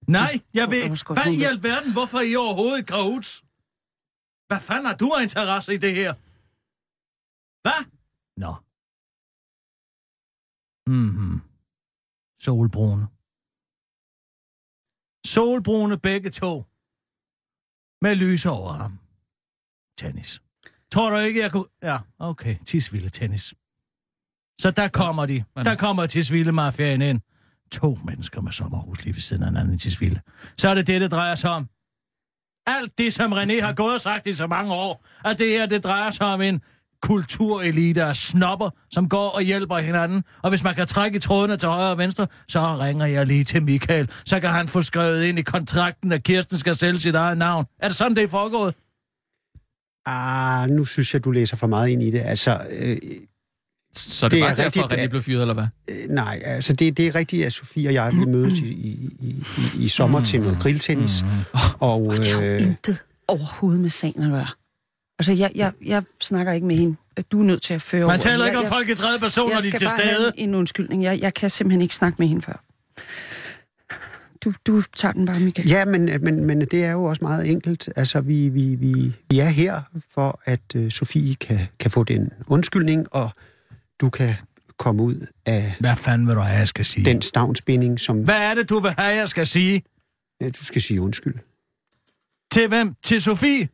Nej, jeg ved
jeg
ikke.
måske godt
Hvad i
håbe.
alverden? Hvorfor er I overhovedet kahots? Hvad fanden har du af interesse i det her? Hvad? Nå. Mhm. Solbrune. Solbrune begge to. Med lys over ham. Tennis. Tror du ikke, jeg kunne... Ja, okay. Tisvilde tennis. Så der kommer de.
Hvad nu?
Der kommer Tisvilde mafiaen ind. To mennesker med sommerhus lige ved siden af hinanden i Tisvilde. Så er det det, det drejer sig om. Alt det, som René har gået og sagt i så mange år, at det her, det drejer sig om en kulturelite af snopper, som går og hjælper hinanden. Og hvis man kan trække i trådene til højre og venstre, så ringer jeg lige til Michael. Så kan han få skrevet ind i kontrakten, at Kirsten skal sælge sit eget navn. Er det sådan, det er foregået?
Ah, nu synes jeg, du læser for meget ind i det. Altså, øh,
Så
Det
det, det var
er
derfor,
rigtigt,
René
at-
blev fyret, eller hvad?
øh, nej, altså det, det er rigtigt, at Sofie og jeg vi mødes i, i, i, i sommer til noget grilltennis. Og,
Mm-hmm. Det har jo
øh,
intet overhovedet med sagen at gøre. Altså, jeg, jeg, jeg snakker ikke med hende. Du er nødt til at føre
Man
ordet.
taler
Jeg-
ikke om
jeg-
folk i tredje person, når
Jeg
de er
skal
til
bare
stede.
have en undskyldning. Jeg, jeg kan simpelthen ikke snakke med hende før. Du, du tager den bare, Michael.
Ja, men, øh, men, men det er jo også meget enkelt. Altså, vi, vi, vi, vi er her for, at øh, Sofie kan, kan få den undskyldning, og du kan komme ud af
Hvad fanden vil du have, jeg skal sige?
den stavnsbinding, som
Hvad er det, du vil have, jeg skal sige?
ja, du skal sige undskyld.
Til hvem? Til Sofie?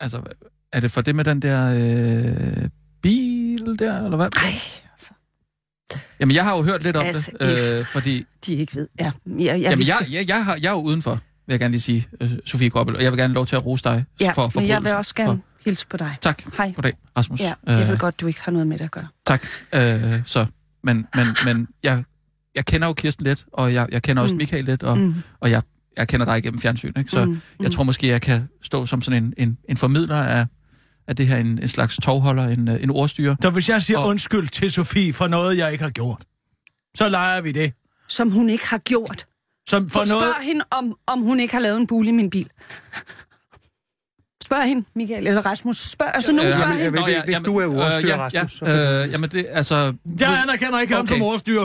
Altså, er det for det med den der øh, bil der, eller hvad?
Nej, altså,
Jamen, jeg har jo hørt lidt om
Altså,
det, øh, fordi...
de ikke ved. Ja, jeg, jeg,
Jamen,
vidste
jeg,
det.
jeg, jeg, har, jeg er jo udenfor, vil jeg gerne lige sige, øh, Sofie Goppel, og jeg vil gerne have lov til at rose dig
ja,
for
men jeg vil
forbrydelsen.
også gerne hilse på dig.
For, tak.
Hej.
Goddag, Rasmus.
Ja, jeg ved
Øh,
godt, du ikke har noget med det at gøre.
Tak. Øh, så, men, men, men jeg, jeg kender jo Kirsten lidt, og jeg, jeg kender også
Mm.
Michael lidt, og,
Mm,
og jeg, jeg kender dig gennem fjernsyn, ikke? Så
mm,
jeg tror måske, jeg kan stå som sådan en, en, en formidler af, er det her en, en slags tovholder, en, øh, en ordstyre.
Så hvis jeg siger
Og-
og... undskyld til Sofie for noget, jeg ikke har gjort, så leger vi det.
som hun ikke har gjort.
Som for
For Spørg
noget...
noget... hende, om, om hun ikke har lavet en bule i min bil. Spørg hende, Michael eller Rasmus. Spørg, altså, nogen spørger
jamen, jeg
hende.
ved ikke, hvis du er ordstyrer,
øh, ja,
Rasmus, så
ja, øh, jamen det, altså...
Jeg anerkender ikke okay. ham
Okay.
som ordstyr.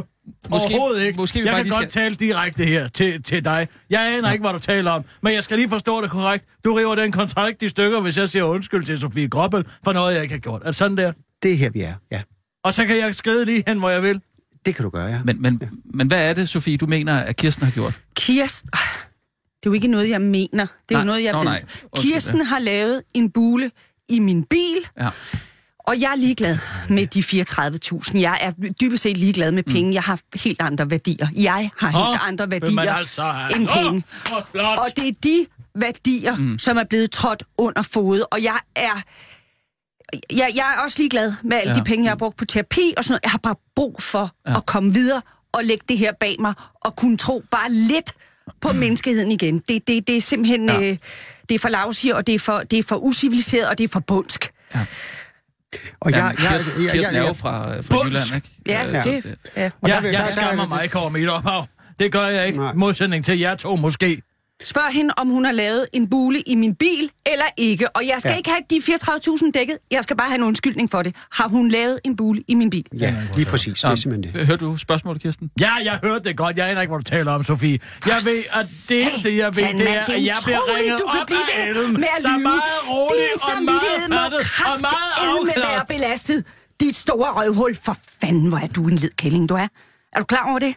Måske-
Overhovedet ikke.
måske vi
jeg
bare
kan
lige
godt
skal-
tale direkte her til, til dig. Jeg aner ja. ikke, hvad du taler om, men jeg skal lige forstå det korrekt. Du river den kontrakt i stykker, hvis jeg siger undskyld til Sofie Groppel for noget, jeg ikke har gjort. Er det sådan der?
Det er her, vi er. Ja,
Og så kan jeg skride lige hen, hvor jeg vil.
det kan du gøre, ja.
Men, men, men hvad er det, Sofie, du mener, at Kirsten har gjort?
Kirsten... øh, Ah, Det er jo ikke noget, jeg mener. Det er
Nej,
jo noget, jeg
nå,
ved.
nej. Undskyld,
Kirsten har lavet en bule i min bil,
Ja.
og jeg er ligeglad med de 34.000. Jeg er dybest set ligeglad med
Mm.
penge. Jeg har helt andre værdier. Jeg har helt
Åh,
andre
Vil man
værdier
altså have-
end
Åh,
penge.
Hvor flot.
Og det er de værdier, mm. som er blevet trådt under fodet, og jeg er... Jeg, jeg er også ligeglad med alle
Ja.
ja. de penge, jeg har brugt på terapi og sådan noget. Jeg har bare brug for ja. at komme videre og lægge det her bag mig og kunne tro bare lidt på menneskeheden igen. Det, det, det er simpelthen
Ja.
Mm. ja. øh, det er for lavsig, og det er for, det er for uciviliseret, og det er for bundsk.
Og
Jamen, Kirsten, Kirsten er jo fra, øh, fra
Bunds!
Jylland, ikke?
Ja,
Øh,
ja.
så-
det. Ja.
og
Ja,
der vil- der-
jeg
der-
skammer mig ikke over mit ophav. Det gør jeg ikke.
Nej.
Nej. Modsætning til jer to måske.
Spørg hende, om hun har lavet en bule i min bil eller ikke. Og jeg skal
Ja.
ja. ikke have de 34.000 dækket. Jeg skal bare have en undskyldning for det. Har hun lavet en bule i min bil?
Ja, lige præcis. Det er simpelthen det.
Hørte øh, du spørgsmålet, Kirsten?
Ja, jeg hørte det godt. Jeg aner ikke, hvad du taler om, Sofie. Jeg ved, at det eneste, jeg ved,
Satan,
det
mand.
er,
Det er
at jeg bliver
utroligt,
ringet
du kan
op
blive
af
ved
Ellen,
med at
der er
lyve.
meget rolig
Din
og meget
samvittighed må
fattet og meget
kraftedeme være
afklaret.
belastet. Dit store røvhul, for fanden, hvor er du en led kælling, du er. Er du klar over det?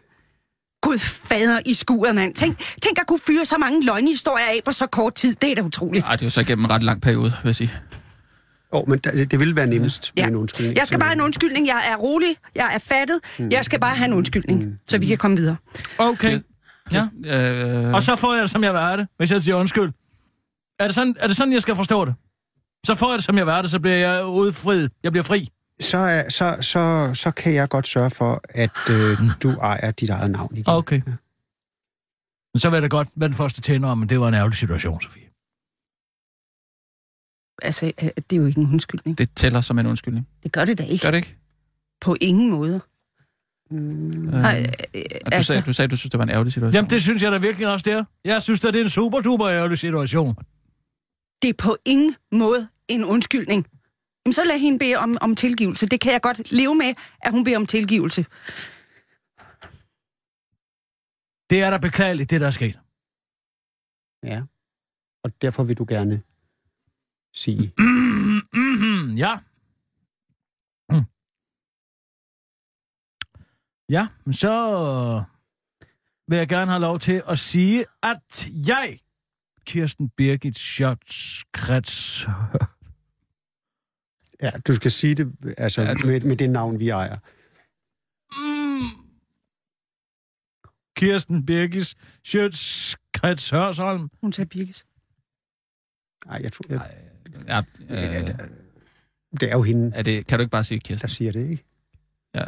Gud fader i skuret, mand. Tænk, tænk at kunne fyre så mange løgnhistorier af på så kort tid. Det er da utroligt.
Nej, det er jo så igennem en ret lang periode, vil jeg sige.
Åh, men der- det, det ville være nemmest med
Ja.
en undskyldning.
Jeg skal bare have en undskyldning. Jeg er rolig. Jeg er fattet.
Hmm.
Jeg skal bare have en undskyldning, så vi kan komme videre.
Okay. Ja.
Kirsten, øh,
Og så får jeg det, som jeg vil have det, hvis jeg siger undskyld. Er det sådan, er det sådan jeg skal forstå det? Så får jeg det, som jeg vil have det, så bliver jeg udfriet. Jeg bliver fri.
Så, er- så, så, så kan jeg godt sørge for, at øh, du ejer dit eget navn igen.
Okay. Men så vil jeg da godt være den første tænder om, men det var en ærgerlig situation, Sofie.
Hmm.
Altså, øh, det er jo ikke en undskyldning.
det tæller som en undskyldning.
Det gør det da ikke.
Gør det ikke?
På ingen måde.
Øh,
Nej, øh,
og du,
altså-
sagde, du sagde, du synes, det var en ærgerlig situation.
Jamen, det synes jeg da virkelig også, der. Jeg synes da, det er en super duper ærgerlig situation.
det er på ingen måde en undskyldning. Jamen, så lad hende bede om, om tilgivelse. Det kan jeg godt leve med, at hun beder om tilgivelse.
Det er da beklageligt, det der er sket. [CLEARS THROAT]
Ja. Og derfor vil du gerne
[CLEARS THROAT]
sige...
Mm, mm, ja. Mm. Ja, men så vil jeg gerne have lov til at sige, at jeg, Kirsten Birgit Schotz Krets,
Ja, du skal sige det altså,
Ja,
ja,
du-
du... med, med det navn, vi ejer.
mm, Kirsten Birgit Schotz Krets Hørsholm,
Hun sagde Birgis.
Nej, jeg tror, jeg,
Ja, øh,
det er jo hende,
er det, kan du ikke bare sige
der
Kirsten?
siger det, ikke?
Ja,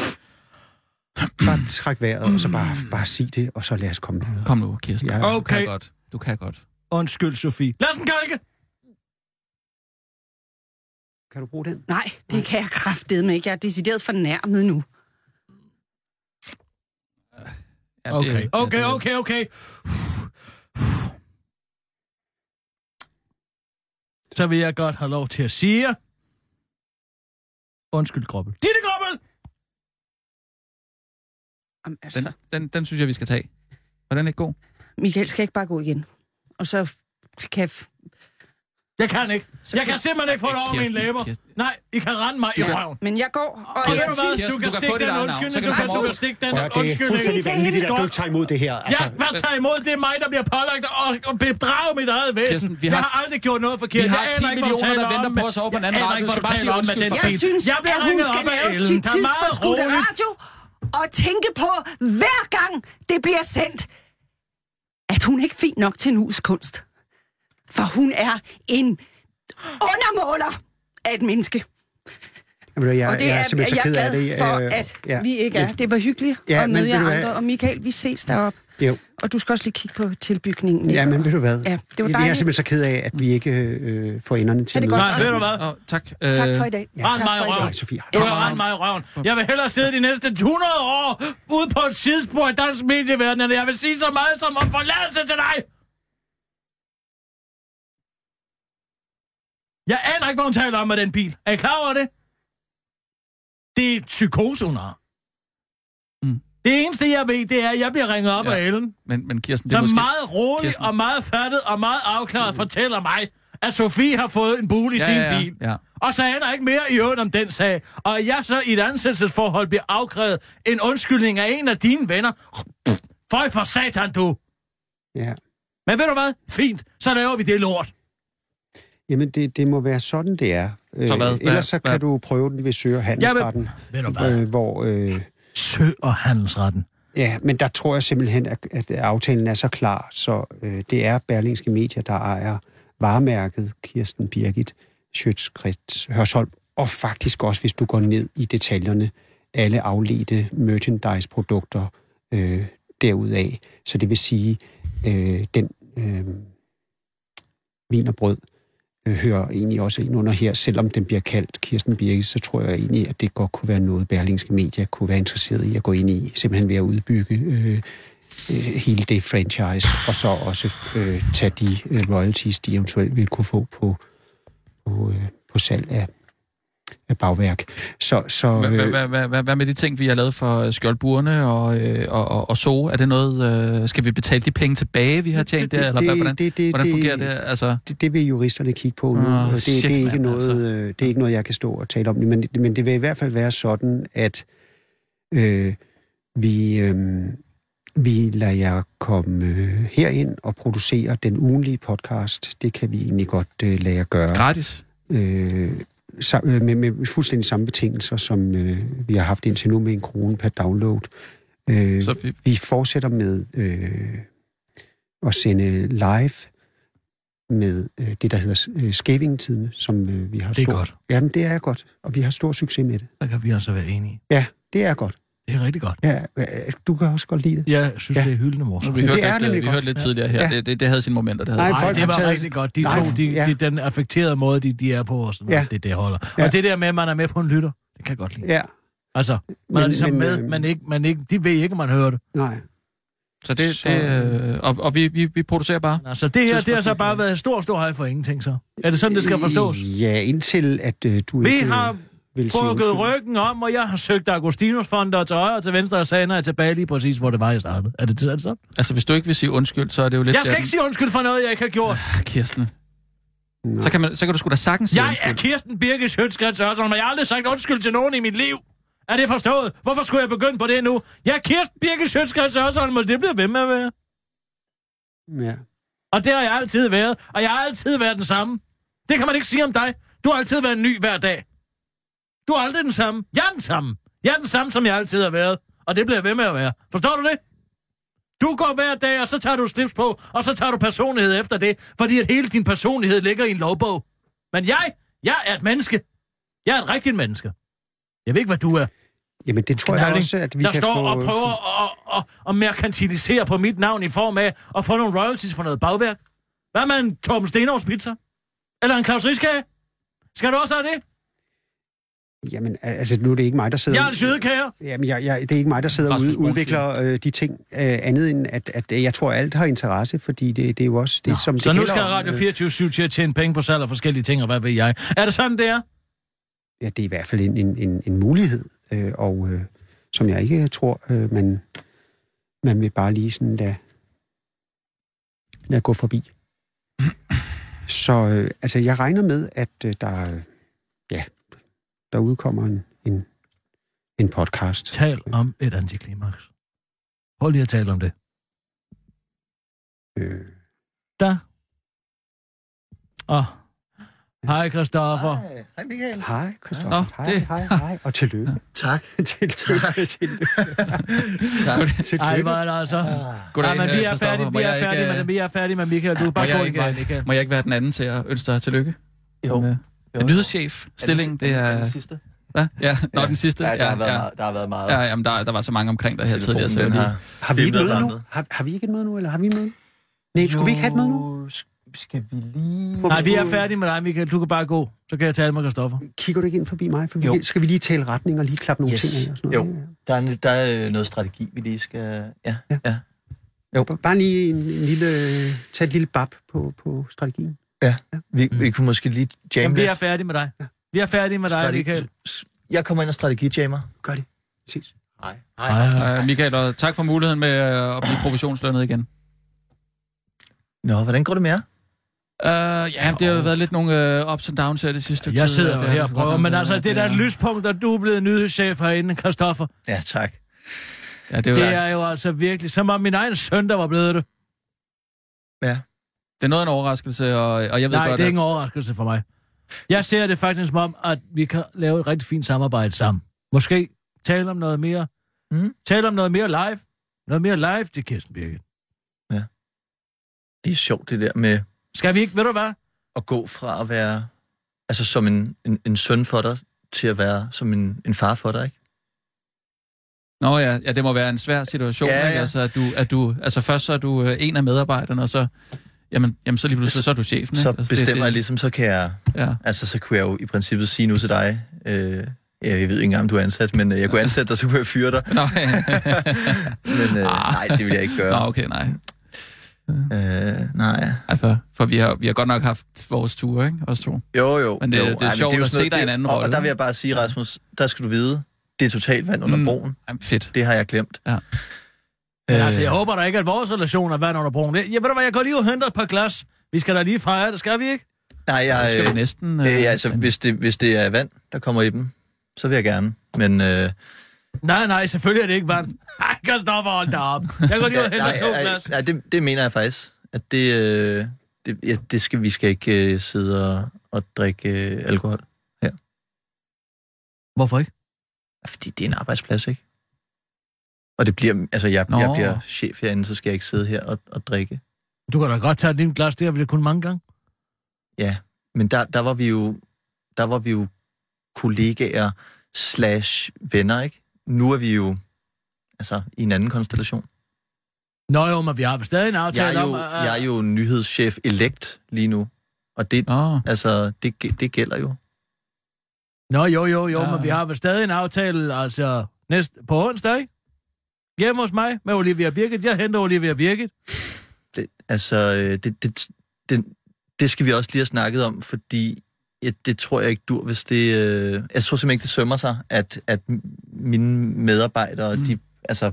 [CLEARS THROAT]
Bare træk vejret, og så bare, bare sig det, og så lad os komme videre.
kom nu, Kirsten.
Ja.
Du kan
Okay.
godt. Du kan godt.
undskyld Sofie. Lad os den kalke!
Kan du bruge den?
Nej, det kan jeg kraftedeme ikke. Jeg er decideret fornærmet nu.
Ja, det-
Okay,
ja,
okay,
det-
okay, okay. Så vil jeg godt have lov til at sige... Undskyld, Grobbel. Ditte Grobbel!
Jamen, altså,
Den,
Den...
den, den synes jeg, vi skal tage. Var den ikke god?
Michael skal ikke bare gå igen. Og så f- kan... f-
Jeg kan ikke.
Så
Jeg kan simpelthen ikke få det over mine
Kirsten,
læber.
Kirsten.
Nej, I kan rende mig i røven.
Men jeg går, og
Og ved
jeg
du
siger,
hvad?
Kirsten,
Du
du
kan stikke den
kan få dit eget navn, så
undskyldning. Du kan,
kan du
du
komme
kan
over.
stikke den
Prøv at høre, det er
undskyldning.
Sig
fuldstændig
til
vanvittigt,
hende.
at du ikke tager imod det her.
Altså-
Ja, hvad tager imod det er mig, der bliver pålagt og, og bedrage mit eget væsen.
Kirsten,
Kirsten,
vi har-
jeg har aldrig gjort noget forkert.
Vi har
jeg
10
aner ikke, hvad du
millioner,
taler
der venter
om,
på
men
os over på den anden
jeg aner
radio.
ikke, hvad
Du skal bare sige
taler om med
undskyld
den
for
jeg
det.
bil.
synes,
jeg bliver
at hun
ringet
skal
op af
lave
Ellen.
sin
Der er meget
tidsforskudte
roligt.
radio og tænke på, hver gang det bliver sendt, at hun ikke er fin nok til en kunst. For hun er en undermåler af et menneske.
Jamen, jeg,
og det
jeg er
er, jeg
simpelthen
er
så ked af
glad
det. øh,
for, at
ja.
vi ikke er. Det var hyggeligt
Ja,
ja, at
men
møde
ved
jer
du hvad?
andre. Og Michael, vi ses deroppe.
Jo.
Og du skal også lige kigge på tilbygningen. ikke?
Ja, men ved du hvad?
Ja, det var
Jeg er
dejligt.
simpelthen så ked af, at vi ikke øh, får enderne til
Ja, det er godt.
at
Nej, ved du hvad?
Åh, oh, tak. Øh,
Tak for i dag.
Rand
tak
mig
for i
i
dag.
mødes. Sofie,
Du kan rende mig i røven. Jeg vil hellere sidde de næste 100 år ude på et sidespor i dansk medieverden, end jeg vil sige så meget som om forladelse til dig. Jeg aner ikke, hvad hun taler om med den bil. Er I klar over det? Det er psykose, hun har.
Mm.
Det eneste, jeg ved, det er, at jeg bliver ringet op
Ja.
ja. af Ellen.
men, men Kirsten, det
Så
er måske...
meget rolig
Kirsten.
og meget fattet og meget afklaret mm. fortæller mig, at Sofie har fået en bule i
Ja,
sin
ja, ja,
bil.
ja.
Og så er der ikke mere i øvrigt om den sag. Og jeg så i et ansættelsesforhold bliver afkrævet en undskyldning af en af dine venner. Pff, Føj for satan, du.
Ja.
Men ved du hvad? Fint. Så laver vi det lort.
Jamen, det, det må være sådan, det er. Øh,
Så hvad? Hvad-
Ellers så
hvad?
kan du prøve den ved Søger Handelsretten.
Ved du hvad?
Øh, hvor, øh,
Sø og handelsretten.
ja, men der tror jeg simpelthen, at, at aftalen er så klar, så øh, det er Berlingske Media, der ejer varemærket Kirsten Birgit Schøtzgrads Hørsholm, og faktisk også, hvis du går ned i detaljerne, alle afledte merchandise-produkter øh, derudaf. Så det vil sige, øh, den øh, vin og brød øh, hører egentlig også ind under her, selvom den bliver kaldt Kirsten Birke, så tror jeg egentlig, at det godt kunne være noget, Berlingske Media kunne være interesseret i at gå ind i, simpelthen ved at udbygge øh, øh, hele det franchise, og så også øh, tage de øh, royalties, de eventuelt vil kunne få på, på, øh, på salg af, af bagværk. Så, så
Hvad- Hvad
øh,
hvad- hvad- hvad- hvad med de ting, vi har lavet for øh, skjoldburene og, øh, og, og, og so? Er det noget... Øh, skal vi betale de penge tilbage, vi har tjent der? Eller hvad, hvordan,
det, det,
hvordan fungerer det? Altså,
det, det vil juristerne kigge på nu.
Åh,
Oh, det,
shit,
shit, det, er ikke
mand,
noget,
altså.
øh, det er ikke noget, jeg kan stå og tale om, men, men det vil i hvert fald være sådan, at øh, vi, øh, vi lader jer komme øh, herind og producere den ugenlige podcast. Det kan vi egentlig godt øh, lade jer gøre.
gratis?
Øh, sam- øh, med, med fuldstændig samme betingelser, som øh, vi har haft indtil nu med en krone per download. Øh,
Så vi,
vi fortsætter med øh, at sende live med øh, det, der hedder øh, skævingetidene, som øh, vi har
Det er
stor...
godt.
Jamen, det er godt, og vi har stor succes med det.
Der kan vi altså være enige.
Ja, det er godt.
Det er rigtig godt.
Ja, øh, du kan også godt lide det.
Jeg synes,
Ja.
det er hyldende morsomt.
vi
det
hørte
er
lidt, øh,
nemlig
vi
godt.
hørte lidt tidligere her.
Ja.
Det, det, det havde sin moment, og det havde
Nej,
Ej,
folk
det
har
var
taget-
rigtig godt. De
Nej,
to, de,
ja.
de, den affekterede måde, de, de er på, og sådan noget,
Ja.
det, det holder.
Ja.
Og det der med, at man er med på en lytter, det kan jeg godt lide.
Ja,
Altså, man men, er ligesom men, med,
øh,
men ikke, man ikke, de ved ikke, at man hører det.
Nej,
Så det,
Så-
det øh, og, og vi, vi, vi producerer bare.
Altså, det her, det har så
Tidsforskning.
bare været stor, stor hej for ingenting, så. Er det sådan, det skal forstås?
Øh, Ja, indtil at øh, du
Vi
ikke øh,
har
vil sige
Brukket
undskyld.
ryggen om, og jeg har søgt Agostinusfonder til højre og til venstre, og sagde, når jeg er tilbage lige præcis, hvor det var, jeg startede. Er det sådan så?
Altså, hvis du ikke vil sige undskyld, så er det jo lidt...
Jeg skal
der-
ikke sige undskyld for noget, jeg ikke har gjort.
Kirsten. Så kan, man, så kan du sgu da sagtens sige
Jeg er
undskyld.
Kirsten Birke Sjøtskrets Hørsholm, og jeg har aldrig sagt undskyld til nogen i mit liv. Er det forstået? Hvorfor skulle jeg begynde på det nu? Jeg er Kirsten Birke Sjøtskrets Hørsholm, og det bliver ved med at være.
Ja.
Og det har jeg altid været, og jeg har altid været den samme. Det kan man ikke sige om dig. Du har altid været ny hver dag. Du er aldrig den samme. Jeg er den samme. Jeg er den samme, som jeg altid har været. Og det bliver jeg ved med at være. Forstår du det? Du går hver dag, og så tager du slips på, og så tager du personlighed efter det, fordi at hele din personlighed ligger i en lovbog. Men jeg, jeg er et menneske. Jeg er et rigtigt menneske. Jeg ved ikke, hvad du er.
Jamen, det tror jeg
Knalding,
også, at vi
der
kan
står
få...
og prøver at, at, at, at merkantilisere på mit navn i form af at få nogle royalties for noget bagværk. Hvad med en Torben Stenovs pizza? Eller en Claus Rieskage? Skal du også have det?
Jamen, altså, nu er det ikke mig, der sidder...
Jeg er en sødekager.
Jamen, jeg, jeg, det er ikke mig, der sidder og
Rasmus
ude,
Brunsen.
udvikler øh, de ting, øh, andet end at, at jeg tror, alt har interesse, fordi det, det er jo også det, Nå, som det
Så nu
gælder
skal
om,
Radio
øh,
24 til at tjene penge på salg af forskellige ting, og hvad ved jeg. Er det sådan, det er?
Ja, det er i hvert fald en, en, en, en mulighed, øh, og øh, som jeg ikke tror, øh, man, man vil bare lige sådan lade, lade gå forbi. Så øh, altså, jeg regner med, at øh, der, øh, ja, der udkommer en, en, en podcast.
Tal om et antiklimaks. Prøv lige at tale om det.
Øh,
Der. Åh. Hej, Christoffer.
Hej Michael.
hej, Christoffer.
Nå,
hej,
det-
hej, hej, og tillykke.
Tak.
[LAUGHS] tillykke, tillykke.
Ej,
tillykke.
hvor er det altså.
Goddag,
Ej, men vi
øh,
er
Christoffer.
færdige,
Må
vi er
jeg ikke,
færdige,
øh,
men vi er færdige med Michael. Du er
Må
bare
jeg,
gå i vej,
ikke,
Michael.
øh, må jeg ikke være den anden til at ønske dig tillykke?
Jo.
Som, øh,
Jo,
en
jo.
nyhedschef. Stilling, det
den
er...
sidste?
Hvad? Ja, nå, ja. den sidste.
Ja, der,
ja,
har været
ja.
meget, der har været meget.
Ja, jamen, der, der var så mange omkring der her tidligere.
Telefonen,
Så jeg
den
lige-
har,
Har vi
det
ikke
er
møde nu?
medblandet.
Har, har vi ikke et møde nu, eller har vi møde? Nej, skulle vi ikke have et møde nu?
Jo, sk- Skal vi lige...
Hvor
Nej, vi er
skulle-
færdige med dig, Michael. Du kan bare gå. Så kan jeg tale med Christoffer.
Kigger du ikke ind forbi mig? For vi
Jo.
kan, skal vi lige tale retning og lige klappe nogle
Yes.
ting af? Og sådan
Jo.
noget? Ja.
Der er, en- der er øh, noget strategi, vi lige skal... Ja,
Ja.
ja. ja. Jo.
B- Bare lige en, en lille, øh, tag et lille bab på, på strategien.
Vi, vi kunne måske lige jamme
Jamen, vi er
lidt.
færdige med dig. Vi er færdige med dig,
Strategi-
Michael.
s- Jeg kommer ind og strategijammer.
Gør det. Ses.
Nej.
Øh, Michael, og tak for muligheden med øh, at
Ah.
blive provisionslønnet igen.
Nå, hvordan går det med jer?
Øh, ja, det har jo været lidt nogle øh, ups and downs her det sidste
Jeg
tid,
sidder
og
jo
det har
her og
godt
prøver,
nok
men
været,
altså,
at
det er da
øh, er-
et lyspunkt, at du er blevet nyhedschef herinde, Christoffer.
Ja, tak.
Ja, det er,
Det
det, er...
er jo altså virkelig, som om min egen søn, der var blevet det.
det er noget af en overraskelse, og, og jeg ved
Nej,
godt,
det er
at-
ingen overraskelse for mig. Jeg ser det faktisk som om, at vi kan lave et rigtig fint samarbejde sammen. Måske tale om noget mere.
Mm.
Tale om noget mere live. Noget mere live til Kirsten Birgit.
Det er sjovt, det der med
Skal vi ikke, ved du hvad?
at gå fra at være... Altså, som en, en, en søn for dig, til at være som en, en far for dig, ikke?
Nå ja, ja, det må være en svær situation,
Ja,
ja,
ja.
ja. Ikke? Altså, at du, at du, altså først så er du øh, en af medarbejderne, og så, jamen, jamen, så lige pludselig så er du chefen.
Så
ikke? altså,
bestemmer jeg ligesom, så kan jeg...
Ja.
Altså, så kunne jeg jo i princippet sige nu til dig... Øh, ja, jeg ved ikke engang, om du er ansat, men øh, jeg kunne ansætte dig, så kunne jeg fyre dig.
Nå,
[LAUGHS]
ja.
Men øh,
Ah.
nej, det vil jeg ikke gøre.
Nå, okay, nej.
Øh, nej.
Ej, for, for vi, har, vi har godt nok haft vores ture, ikke? Os to.
Jo, jo.
Men det-
jo.
det er
men
sjovt
jo
at
sådan
se dig i en anden
og,
rolle,
Og der vil
ikke?
jeg bare sige, Rasmus, der skal du vide, det er totalt vand under
Mm.
broen.
Ej, fedt.
Det har jeg glemt.
Ja.
Men
Øh,
altså, jeg håber da ikke, at vores relation er vand under broen. Jeg, jeg ved du hvad, jeg går lige og henter et par glas. Vi skal da lige fejre det, skal vi ikke?
Nej,
Så skal
jeg,
vi næsten...
øh, øh, altså, hvis det, hvis det er vand, der kommer i dem, så vil jeg gerne. Men øh, nej,
Nej, nej, selvfølgelig er det ikke vand. [LAUGHS] Ej, Christoffer, hold da op. Jeg går lige og henter
nej,
to
nej,
glas.
nej det, det mener jeg faktisk. At det, øh, det, ja, det skal, vi skal ikke øh, sidde og, og drikke øh, alkohol.
Hvorfor ikke?
Fordi det er en arbejdsplads, ikke? Og det bliver, altså jeg,
Nå.
jeg bliver chef herinde, så skal jeg ikke sidde her og, og drikke.
Du kan da godt tage din glas, det har vi da kun mange gange.
Ja, men der, der var vi jo der var vi jo kollegaer slash venner, ikke? Nu er vi jo altså i en anden konstellation.
Nå jo, men vi har stadig en aftale
Jeg er
om...
jo,
øh, at-
jeg er jo nyhedschef elect lige nu, og det,
Nå,
altså, det, gæ- det gælder jo.
Nå jo, jo, jo,
Ja,
ja. men vi har vel stadig en aftale, altså næste, på onsdag, ikke? Hjemme hos mig med Olivia Birgit. Jeg henter Olivia Birgit.
Det, altså, øh, det, det, det, det skal vi også lige have snakket om, fordi ja, det tror jeg ikke dur, hvis det... Øh, jeg tror simpelthen ikke, det sømmer sig, at, at mine medarbejdere,
Mm.
mm. de altså,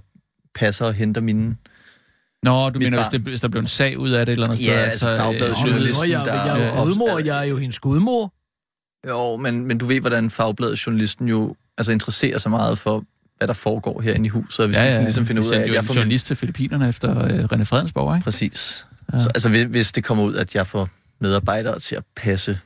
passer og henter mine...
Nå, du
Mit
mener, hvis,
barn.
det, hvis der blev en sag ud af det et eller andet
Ja,
sted?
altså, Fagbladet
øh,
Journalist.
Nå, jeg, jeg, jeg, jeg er jo
der-
gudmor, jeg er jo hendes gudmor.
Jo, men, men du ved, hvordan fagbladet journalisten jo altså, interesserer sig meget for, hvad der foregår herinde i huset, og hvis ja, ja, de sådan ligesom finder
vi
ud af,
sendte
at
jo
jeg
en
får...
journalist til Filippinerne efter øh, René Fredensborg, ikke?
Præcis.
Ja.
Ja. Så, altså, hvis- hvis det kommer ud, at jeg får medarbejdere til at passe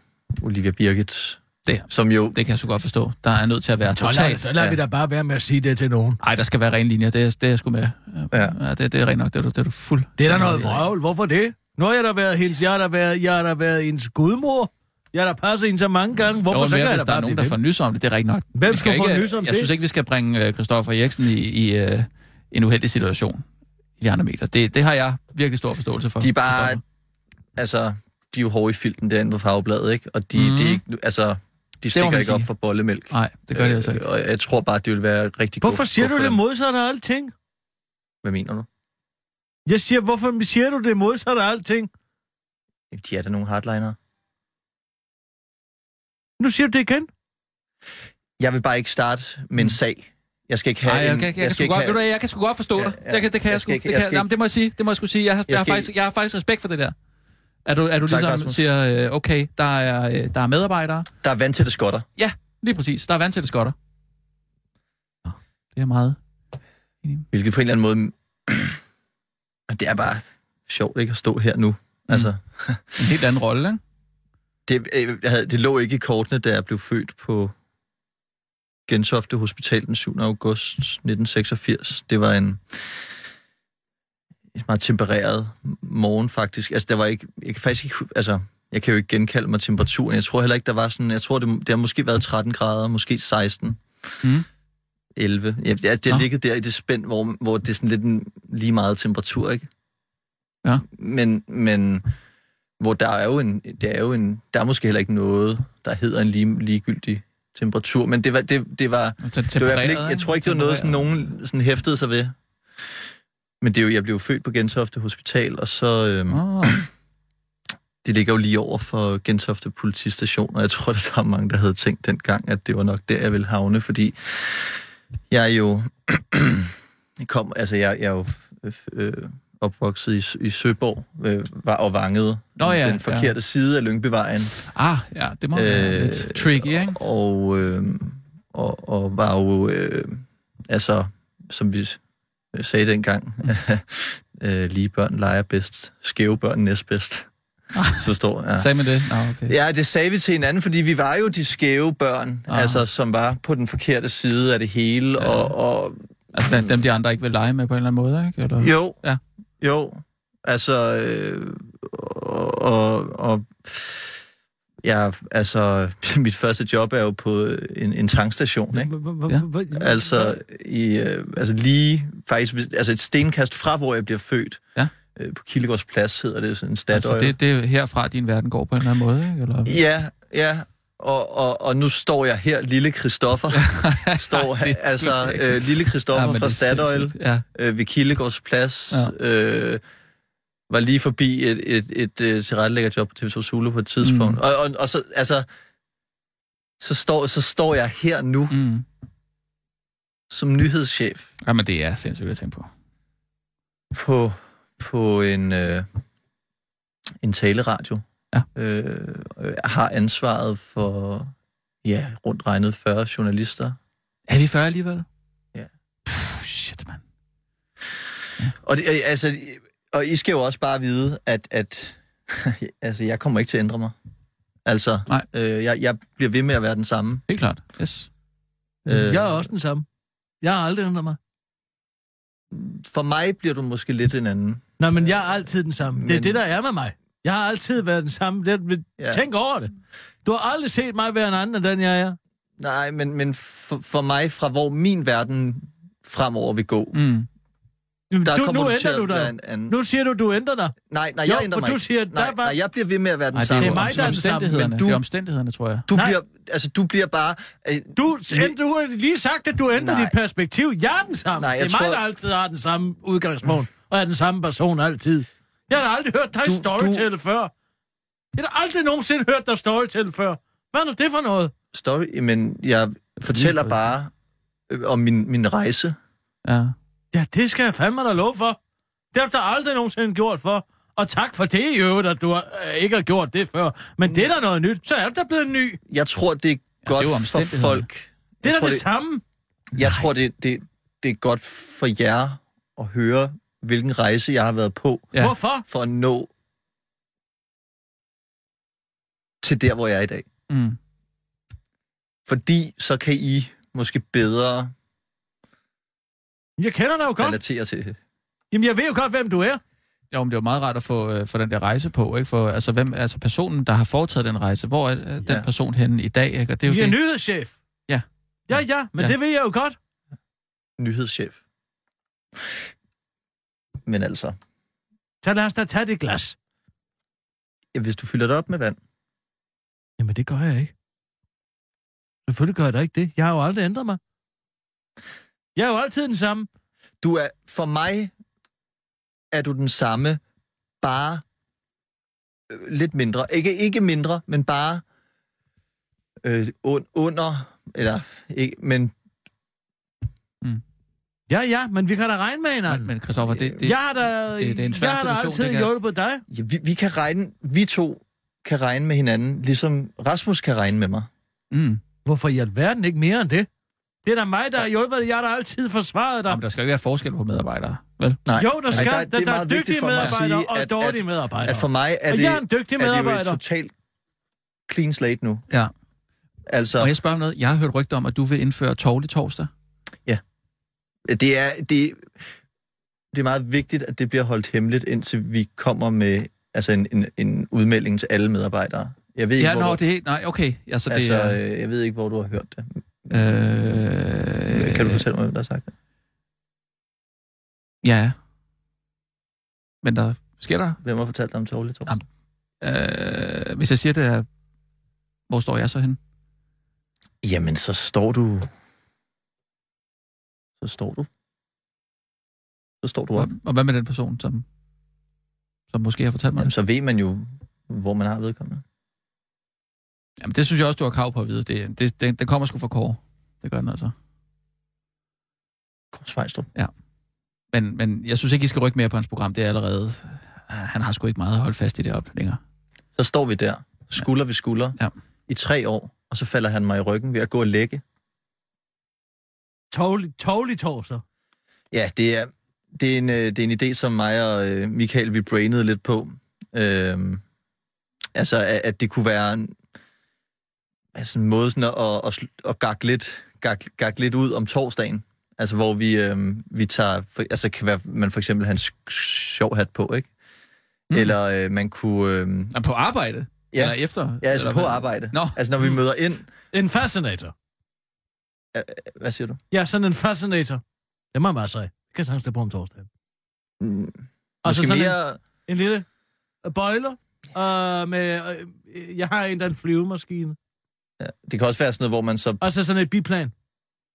Olivia Birgit,
Det.
som jo...
Det kan jeg så godt forstå. Der er nødt til at være
Så lader,
totalt...
så lader
Ja.
vi da bare være med at sige det til nogen.
Nej, der skal være ren linje. Det er, det er jeg sgu med. Øh,
Ja.
Ja, det, det er rent nok. Det er du, det er du fuld.
Det er da noget vrøvl. Hvorfor det? Nå, jeg har da været hendes, jeg har da været, jeg har da været hendes gudmor. Jeg har da passet hende så mange gange. Hvorfor
jo,
så kan
mere,
jeg
hvis
da
der er
bare
nogen,
blive
der
ved?
får nys om det, det er rigtigt nok.
Hvem
Vi
skal få
ikke,
nys om
Jeg
det?
synes ikke, vi skal bringe øh, Christoffer Eriksen i, i øh, en uheldig situation i de andre meter. Det, det har jeg virkelig stor forståelse for.
De er bare...
Christoffer.
Altså, de er jo hårde i filten derinde på fagbladet, ikke? Og de,
Mhm.
mm. de, er ikke, altså, de stikker
man
ikke op
sige.
for bollemælk.
Nej, det gør det altså ikke.
Øh, og jeg tror bare, det vil være rigtig
Hvorfor
god-
siger
god
du
for
det
dem.
modsatte af alting?
Hvad mener du?
Jeg siger, hvorfor siger du det modsatte af alting?
De er da nogle hardliner.
Nu siger du det igen.
Jeg vil bare ikke starte med en sag. Jeg skal ikke have
Mm. Nej, jeg,
en...
kan, jeg, jeg,
skal
kan
ikke
godt,
have-
ved du hvad, jeg kan sgu godt forstå
Ja,
dig.
ja.
Det kan, det kan jeg,
Jeg
sgu.
skal
Det,
ikke-
kan,
jeg
jeg
skal
jamen, det må jeg sige. Det må jeg sgu sige. Jeg har, jeg, har
skal
faktisk, jeg har faktisk respekt for det der. Er du, er du
Tak,
ligesom
Rasmus.
siger, øh, okay, der er, øh, der er medarbejdere.
Der er vandtætte skotter.
Lige præcis. Der er vandtætte skotter. Det er meget.
Hvilket på en eller anden måde... [CLEARS THROAT] Og det er bare sjovt ikke at stå her nu. Altså,
En helt anden rolle, ikke?
det, øh, jeg havde, det lå ikke i kortene, da jeg blev født på Gentofte Hospital den 7. august 1986. Det var en et meget tempereret morgen, faktisk. Altså, der var ikke... Jeg kan faktisk ikke... hu- Altså, Jeg kan jo ikke genkalde mig temperaturen. Jeg tror heller ikke, der var sådan... Jeg tror, det, det har måske været 13 grader, måske 16.
Mm.
11. Ja, det, altså, det har
Nå.
ligget der i det spænd, hvor, hvor det er sådan lidt en, lige meget temperatur, ikke?
Ja.
Men, men hvor der er jo en, det er jo en, der er måske heller ikke noget, der hedder en lige, ligegyldig temperatur, men det var, det, det var,
Og så
det var i hvert fald
tempereret,
ikke, jeg
ikke?
tror ikke, det var noget, sådan, nogen sådan hæftede sig ved. Men det er jo, jeg blev jo født på Gentofte Hospital, og så, øhm,
Åh,
det ligger jo lige over for Gentofte politistation, og jeg tror, [LAUGHS] der var mange, der havde tænkt dengang, at det var nok der, jeg ville havne, fordi jeg er jo... [CLEARS THROAT] jeg kom, altså, jeg, jeg er jo øh, øh, opvokset i, Sø- i Søborg øh, var, og vangede
Nå ja,
den forkerte ja. side af Lyngbyvejen.
Ah, ja, det må være
Øh,
lidt tricky, ikke?
Og, øh, og, og var jo, øh, altså, som vi s- sagde dengang, [LAUGHS] øh, lige børn leger bedst, skæve børn næstbedst. Så står, ja.
Sagde man det? Nå, okay.
Ja, det sagde vi til hinanden, fordi vi var jo de skæve børn,
Ah.
ah. altså, som var på den forkerte side af det hele. Ja. Og, og
Altså dem, dem, de andre ikke vil lege med på en eller anden måde, ikke? Eller?
jo,
Ja.
jo, altså, øh, og, og, og ja, altså, [LAUGHS] mit første job er jo på en, en tankstation, ikke?
Ja.
Altså, i, øh, altså lige faktisk, hvis- altså et stenkast fra, hvor jeg bliver født.
Ja.
Øh, på Kildegårds Plads hedder det sådan en
Altså,
statøj.
det, det er herfra, din verden går på en eller anden måde, ikke? Eller?
Ja, ja. Og, og, og nu står jeg her, lille Christoffer.
[LAUGHS]
står
det er
altså
sindssygt.
øh, lille Christoffer
men
fra
det er
Statoil
sindssygt. Ja,
øh, ved Kildegårds Plads. Ja. Øh, var lige forbi et, et, et, et tilrettelæggerjob på TV2 Zulu på et tidspunkt.
Mm.
Mm. Og, og, og så, altså, så står, så står jeg her nu mm.
mm.
som nyhedschef
Jamen, det er sindssygt at tænke på.
på, på en, øh, en taleradio.
Ja.
Øh, øh, har ansvaret for ja, rundt regnet 40 journalister.
Er vi 40 alligevel?
Ja.
Puh, shit, mand.
Og, det, øh, altså, og I skal jo også bare vide, at, at [LAUGHS] altså, jeg kommer ikke til at ændre mig. Altså,
Nej.
øh, jeg, jeg bliver ved med at være den samme.
Helt klart. Yes. Mm.
Øh,
Jeg er også den samme. Jeg har aldrig ændret mig.
For mig bliver du måske lidt en anden.
Nej, men jeg er altid den samme. Det er
Men-
det, der er med mig. Jeg har altid været den samme. Det,
Ja.
tænk over det. Du har aldrig set mig være en anden, end den jeg er.
Nej, men, men for, for mig, fra hvor min verden fremover vil gå,
Mm.
Jamen,
der
du,
kommer
nu
du til
ændrer
at
du
være
dig.
en anden.
Nu siger du, du ændrer dig.
Nej, nej,
Jo,
jeg ændrer
for
mig
du
ikke.
siger,
nej,
der var-
nej, jeg bliver ved med at være den
Ej, det
samme.
er,
Det
jo
er mig, der er den samme,
omstændighederne.
men du-
Det er omstændighederne, tror jeg.
Du
Nej.
bliver, altså, du bliver bare... Øh,
Du, ændrer, du har lige sagt, at du ændrer
Nej.
dit perspektiv. Jeg er den samme.
Nej, jeg
det er mig,
tror-
der altid har den samme udgangspunkt, og er den samme person altid. Jeg har da aldrig hørt dig
Du-
storytale før. Jeg har da aldrig nogensinde hørt dig storytale før. Hvad er nu det for noget?
story, men jeg fortæller bare øh, om min, min rejse.
Ja.
Ja, det skal jeg fandme da lov for. Det har du da aldrig nogensinde gjort for. Og tak for det i øvrigt, at du har, øh, ikke har gjort det før. Men det er da noget nyt. Så er du da blevet ny. Det
Jeg tror, det er
er
godt
jo
ja, det for
omstændighederne.
folk.
er da
tror,
det,
det-
samme.
Jeg tror, det, det, det er godt for jer at høre, hvilken rejse jeg har været på,
Ja.
Ja. Hvorfor?
for at nå til der, hvor jeg er i dag.
Mm.
Fordi så kan I måske bedre
Jeg kender dig jo godt.
relatere til det.
Jamen, jeg ved jo godt, hvem du er.
Jo, men det er jo meget rart at få, øh, få den der rejse på, ikke? For, altså, hvem, altså personen, der har foretaget den rejse, hvor er øh, den
Ja.
person henne i dag, ikke? Og det er jo
Jeg er
det.
nyhedschef.
Ja.
Ja, ja, men
Ja.
ja. det ved jeg jo godt.
Nyhedschef. Men altså,
Så lad os da tage det glas.
ja, hvis du fylder det op med vand,
Jamen, det gør jeg ikke. Selvfølgelig gør jeg da ikke det. Jeg har jo aldrig ændret mig. Jeg er jo altid den samme.
Du er, for mig er du den samme, bare øh, lidt mindre. Ikke, ikke mindre, men bare øh, un, under, eller ikke, men
Ja, ja, men vi kan da regne med hinanden.
Men, men Christoffer, det, det,
jeg har da,
det- det er en svær
jeg har da
situation, det
altid
kan-
hjulpet dig.
ja, vi, vi kan regne, vi to kan regne med hinanden, ligesom Rasmus kan regne med mig.
mm.
Hvorfor i alverden ikke mere end det? Det er da mig, der har hjulpet dig. Jeg har da altid forsvaret dig.
Jamen, der skal jo ikke være forskel på medarbejdere, vel?
Nej,
Jo, der skal. der,
Nej, det
der,
er
er,
meget vigtigt
dygtige
for mig at
medarbejdere
sige,
og
at-
dårlige
at-
medarbejdere.
At for mig er
og
det,
jeg er en dygtig
er det jo et
medarbejder.
totalt clean slate nu.
Ja.
Altså,
Må jeg spørge om noget? Jeg har hørt rygter om, at du vil indføre tårlig torsdag.
Det er, det, det er meget vigtigt, at det bliver holdt hemmeligt, indtil vi kommer med altså en, en, en udmelding til alle medarbejdere. Jeg ved ikke,
Ja,
hvor,
nå,
du,
det er helt... Nej, okay. Ja, så det
altså,
er...
øh, jeg ved ikke, hvor du har hørt det.
Øh,
Kan du fortælle mig, hvem der har sagt det?
Ja. Men der sker der...
Hvem har fortalt dig om Torle, tror du?
Jamen. Øh, hvis jeg siger, det er... Hvor står jeg så henne?
Jamen, så står du... Så står du. Så står du op.
Og, og hvad med den person, som, som måske har fortalt mig
Jamen,
det?
så ved man jo, hvor man har vedkommende.
Jamen, det synes jeg også, du har krav på at vide. Det, det, det, den kommer sgu fra Kåre. Det gør den altså.
Kors Fejstrup.
Men, men jeg synes ikke, I skal rykke mere på hans program. Det er allerede... Ah, Han har sgu ikke meget at holde fast i deroppe længere.
Så står vi der, skulder ved skulder,
Ja.
i tre år, og så falder han mig i ryggen ved at gå og lægge.
Tårlig, tårlig torsdag.
Ja, det er, det er, en, øh, det er en idé, som mig og øh, Michael, vi brainede lidt på. Øhm, altså, at, at det kunne være en, altså, en måde sådan at, at, at, sl- at gakke, lidt, gakke, gakke lidt ud om torsdagen. Altså, hvor vi, øhm, vi tager... For, altså, kan være, man for eksempel har en sk- sjov hat på, ikke?
Mm.
Mm. Eller øh, man kunne... Øhm,
Er på arbejde?
ja,
Eller efter?
ja, altså
eller
på
hvad?
arbejde.
Nå.
Altså, når vi
Mm.
møder ind...
En fascinator.
Hvad siger du?
Ja, sådan en fascinator. Det er meget masser af. Det kan jeg sagtens tage på om torsdagen.
Mm,
Og så
måske
sådan en,
mere...
en lille øh, bøjler. Øh, med, øh, øh, jeg har en, der er en flyvemaskine.
Ja, det kan også være sådan noget, hvor man så...
Og så sådan et biplan.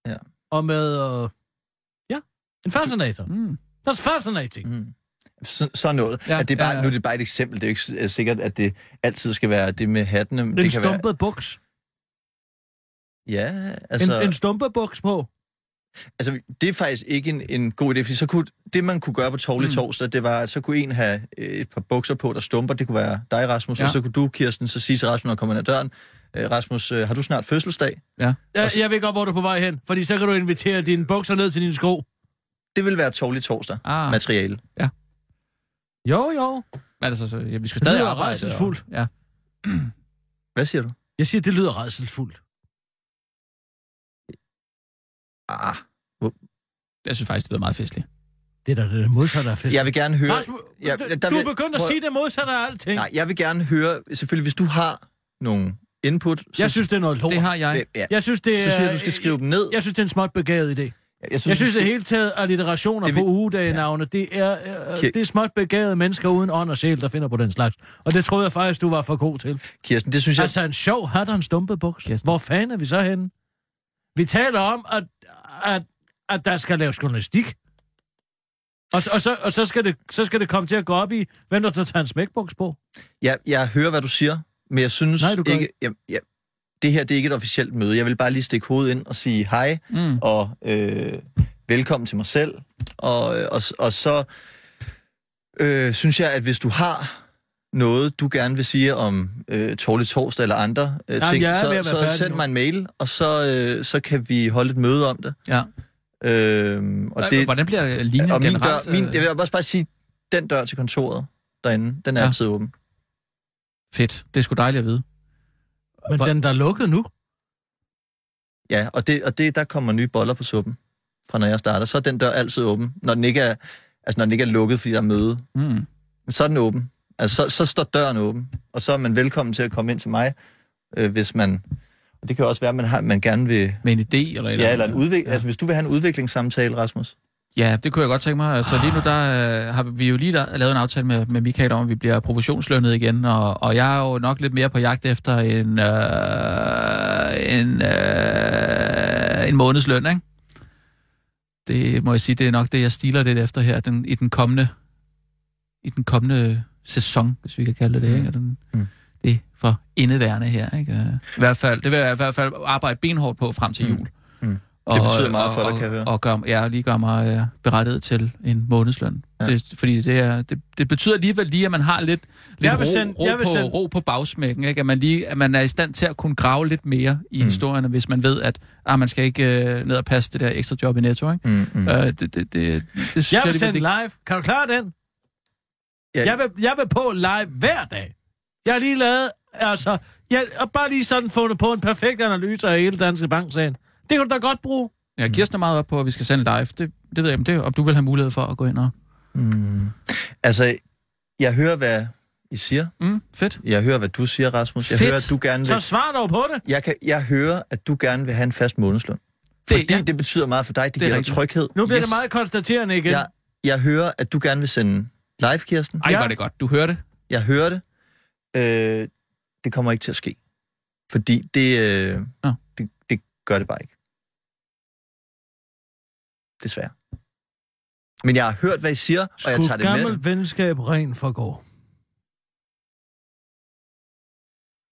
Ja.
Og med, øh, ja, en fascinator.
Mm.
That's fascinating.
Mm. Så, sådan noget.
Ja,
Ja, at det er bare,
ja, ja.
Nu er det bare et eksempel. Det er jo ikke s- øh, sikkert, at det altid skal være det med hattene. men
Det en
det kan være,
stumpet buks.
ja,
En,
altså,
en stumpet buks på.
altså, det er faktisk ikke en, en god idé, fordi så kunne, det, man kunne gøre på Torle
Mm.
mm. Torsdag, det var, at så kunne en have øh, et par bukser på, der stumper. Det kunne være dig, Rasmus,
Ja.
ja. og så kunne du, Kirsten, så sige til Rasmus, når han kommer ind ad døren, "Øh, Rasmus, øh, har du snart fødselsdag?
Jeg,
Altså-
jeg ved godt, hvor du er på vej hen, fordi så kan du invitere dine bukser ned til dine sko.
Det vil være Torle Torsdag
Ah,
materiale.
Jo, jo.
men altså, så, ja, vi skal stadig
lyder
arbejde.
rædselsfuldt.
og- Ja.
Hvad siger du?
Jeg siger, det lyder redselsfuldt.
Ah,
Jeg synes faktisk, det lyder meget festligt.
Det er da det modsatte af fest.
jeg vil gerne høre...
Rasmus,
Ja,
du-
der
du
vil-
er begyndt at
prøv-
sige det modsatte af alting.
Nej, jeg vil gerne høre... Selvfølgelig, hvis du har nogle input... Så,
Jeg synes, det er
Oh,
noget lort.
Det har jeg.
Ja,
Jeg synes, det er...
så siger jeg, du skal skrive dem ned.
Øh, Jeg synes, det er en småt begavet idé.
Jeg synes,
Jeg synes,
du
det
skulle-
hele taget alliterationer
Det
på
vil-
ugedagenavne, det er, øh,
Ki-
det er småt begavede mennesker uden ånd og sjæl, der finder på den slags. Og det troede jeg faktisk, du var for god til.
Kirsten, det synes jeg...
Altså, en sjov hat og en stumpet buks.
Kirsten.
Hvor fanden er vi så henne? Vi taler om, at, at, at der skal laves journalistik. Og, så- og, så, og så, skal det, så skal det komme til at gå op i, hvem der tager en smækbuks på.
Jeg, jeg hører, hvad du siger, men jeg synes
Nej, du gør
ikke...
ikke.
Jeg, jeg, det her det er ikke et officielt møde. Jeg vil bare lige stikke hovedet ind og sige hej,
Mm.
og øh, velkommen til mig selv. Og, øh, og, s- og så øh, synes jeg, at hvis du har noget, du gerne vil sige om øh, Torle Torsdag eller andre øh,
Jamen,
ting,
jeg er ved
så,
at være
så
færdig
send
nu.
mig en mail, og så, øh, så kan vi holde et møde om det.
Ja.
Øh, og det,
Hvordan bliver linjen
og min
generelt?
dør, min,
øh,
jeg vil også bare sige, den dør til kontoret derinde, den er
Ja.
ja. altid åben.
Fedt. Det er sgu dejligt at vide.
Men
Hvor-
den, der er lukket nu,
Ja, og, det, og det, der kommer nye boller på suppen, fra når jeg starter. Så er den dør altid åben, når den ikke er, altså, når den ikke er lukket, fordi der er møde.
Mm.
Men så er den åben. Altså, så, så står døren åben, og så er man velkommen til at komme ind til mig, øh, hvis man... Og det kan jo også være, at man, har, man gerne vil...
Med en idé eller
Eller, ja, eller en udvik,
ja.
ja. altså, hvis du vil have en udviklingssamtale, Rasmus.
Ja, det kunne jeg godt tænke mig. Altså lige nu, der øh, har vi jo lige der, lavet en aftale med, med Michael om, at vi bliver provisionslønnet igen, og, og jeg er jo nok lidt mere på jagt efter en, øh, en, øh, en månedsløn, ikke? Det må jeg sige, det er nok det, jeg stiler lidt efter her den, i den kommende i den kommende sæson, hvis vi kan kalde det det, ikke? Og Den, mm.
Mm.
Det er for indeværende her, ikke? Øh, I hvert fald, det vil jeg i hvert fald arbejde benhårdt på frem til
Mm.
jul.
Mm. Det
Og-
betyder meget for
og,
dig, kan jeg høre.
Og, og gør, ja, lige gør mig øh, berettiget til en månedsløn. Ja.
Ja.
Det, fordi det, er, det, det betyder alligevel lige, at man har lidt, lidt
Jeg
ro,
vil sende-
ro,
jeg vil
på,
sende-
ro på bagsmækken. Ikke? At, man lige, at man er i stand til at kunne grave lidt mere i mm. historierne, hvis man ved, at ah, man skal ikke øh, ned og passe det der ekstra job i Netto. Ikke?
Mm, mm.
Mm. Øh, det, det, det, det, det synes
jeg
jeg,
vil
det,
sende
det,
live. Kan du klare den?
Ja,
Jeg vil, jeg vil på live hver dag. Jeg har lige lavet, altså, jeg har bare lige sådan fundet på en perfekt analyse af hele Danske Bank-sagen. Det kan du da godt bruge.
ja, Kirsten er meget op på, at vi skal sende live. Det, det ved jeg, om, det, om du vil have mulighed for at gå ind og...
Mm. Altså, Hmm. jeg hører, hvad I siger.
Mm, fedt.
Jeg hører, hvad du siger, Rasmus. Jeg
Fedt.
hører, at du gerne vil...
Så svar dog på det.
Jeg, kan, jeg hører, at du gerne vil have en fast månedsløn.
Det-
Fordi det,
ja.
ja. det betyder meget for dig. Det,
Det
det
er
giver dig
rigtigt.
tryghed.
Nu bliver yes.
Yes.
det meget konstaterende igen. Ja.
Jeg, jeg hører, at du gerne vil sende live, Kirsten.
Ej,
Ja.
ja. var det godt. Du hørte det.
Jeg hører det. Øh, det kommer ikke til at ske. Fordi det, øh,
Nå.
det, det gør det bare ikke. Desværre. Men jeg har hørt, hvad I siger, og jeg tager det med.
gammelt venskab rent for går.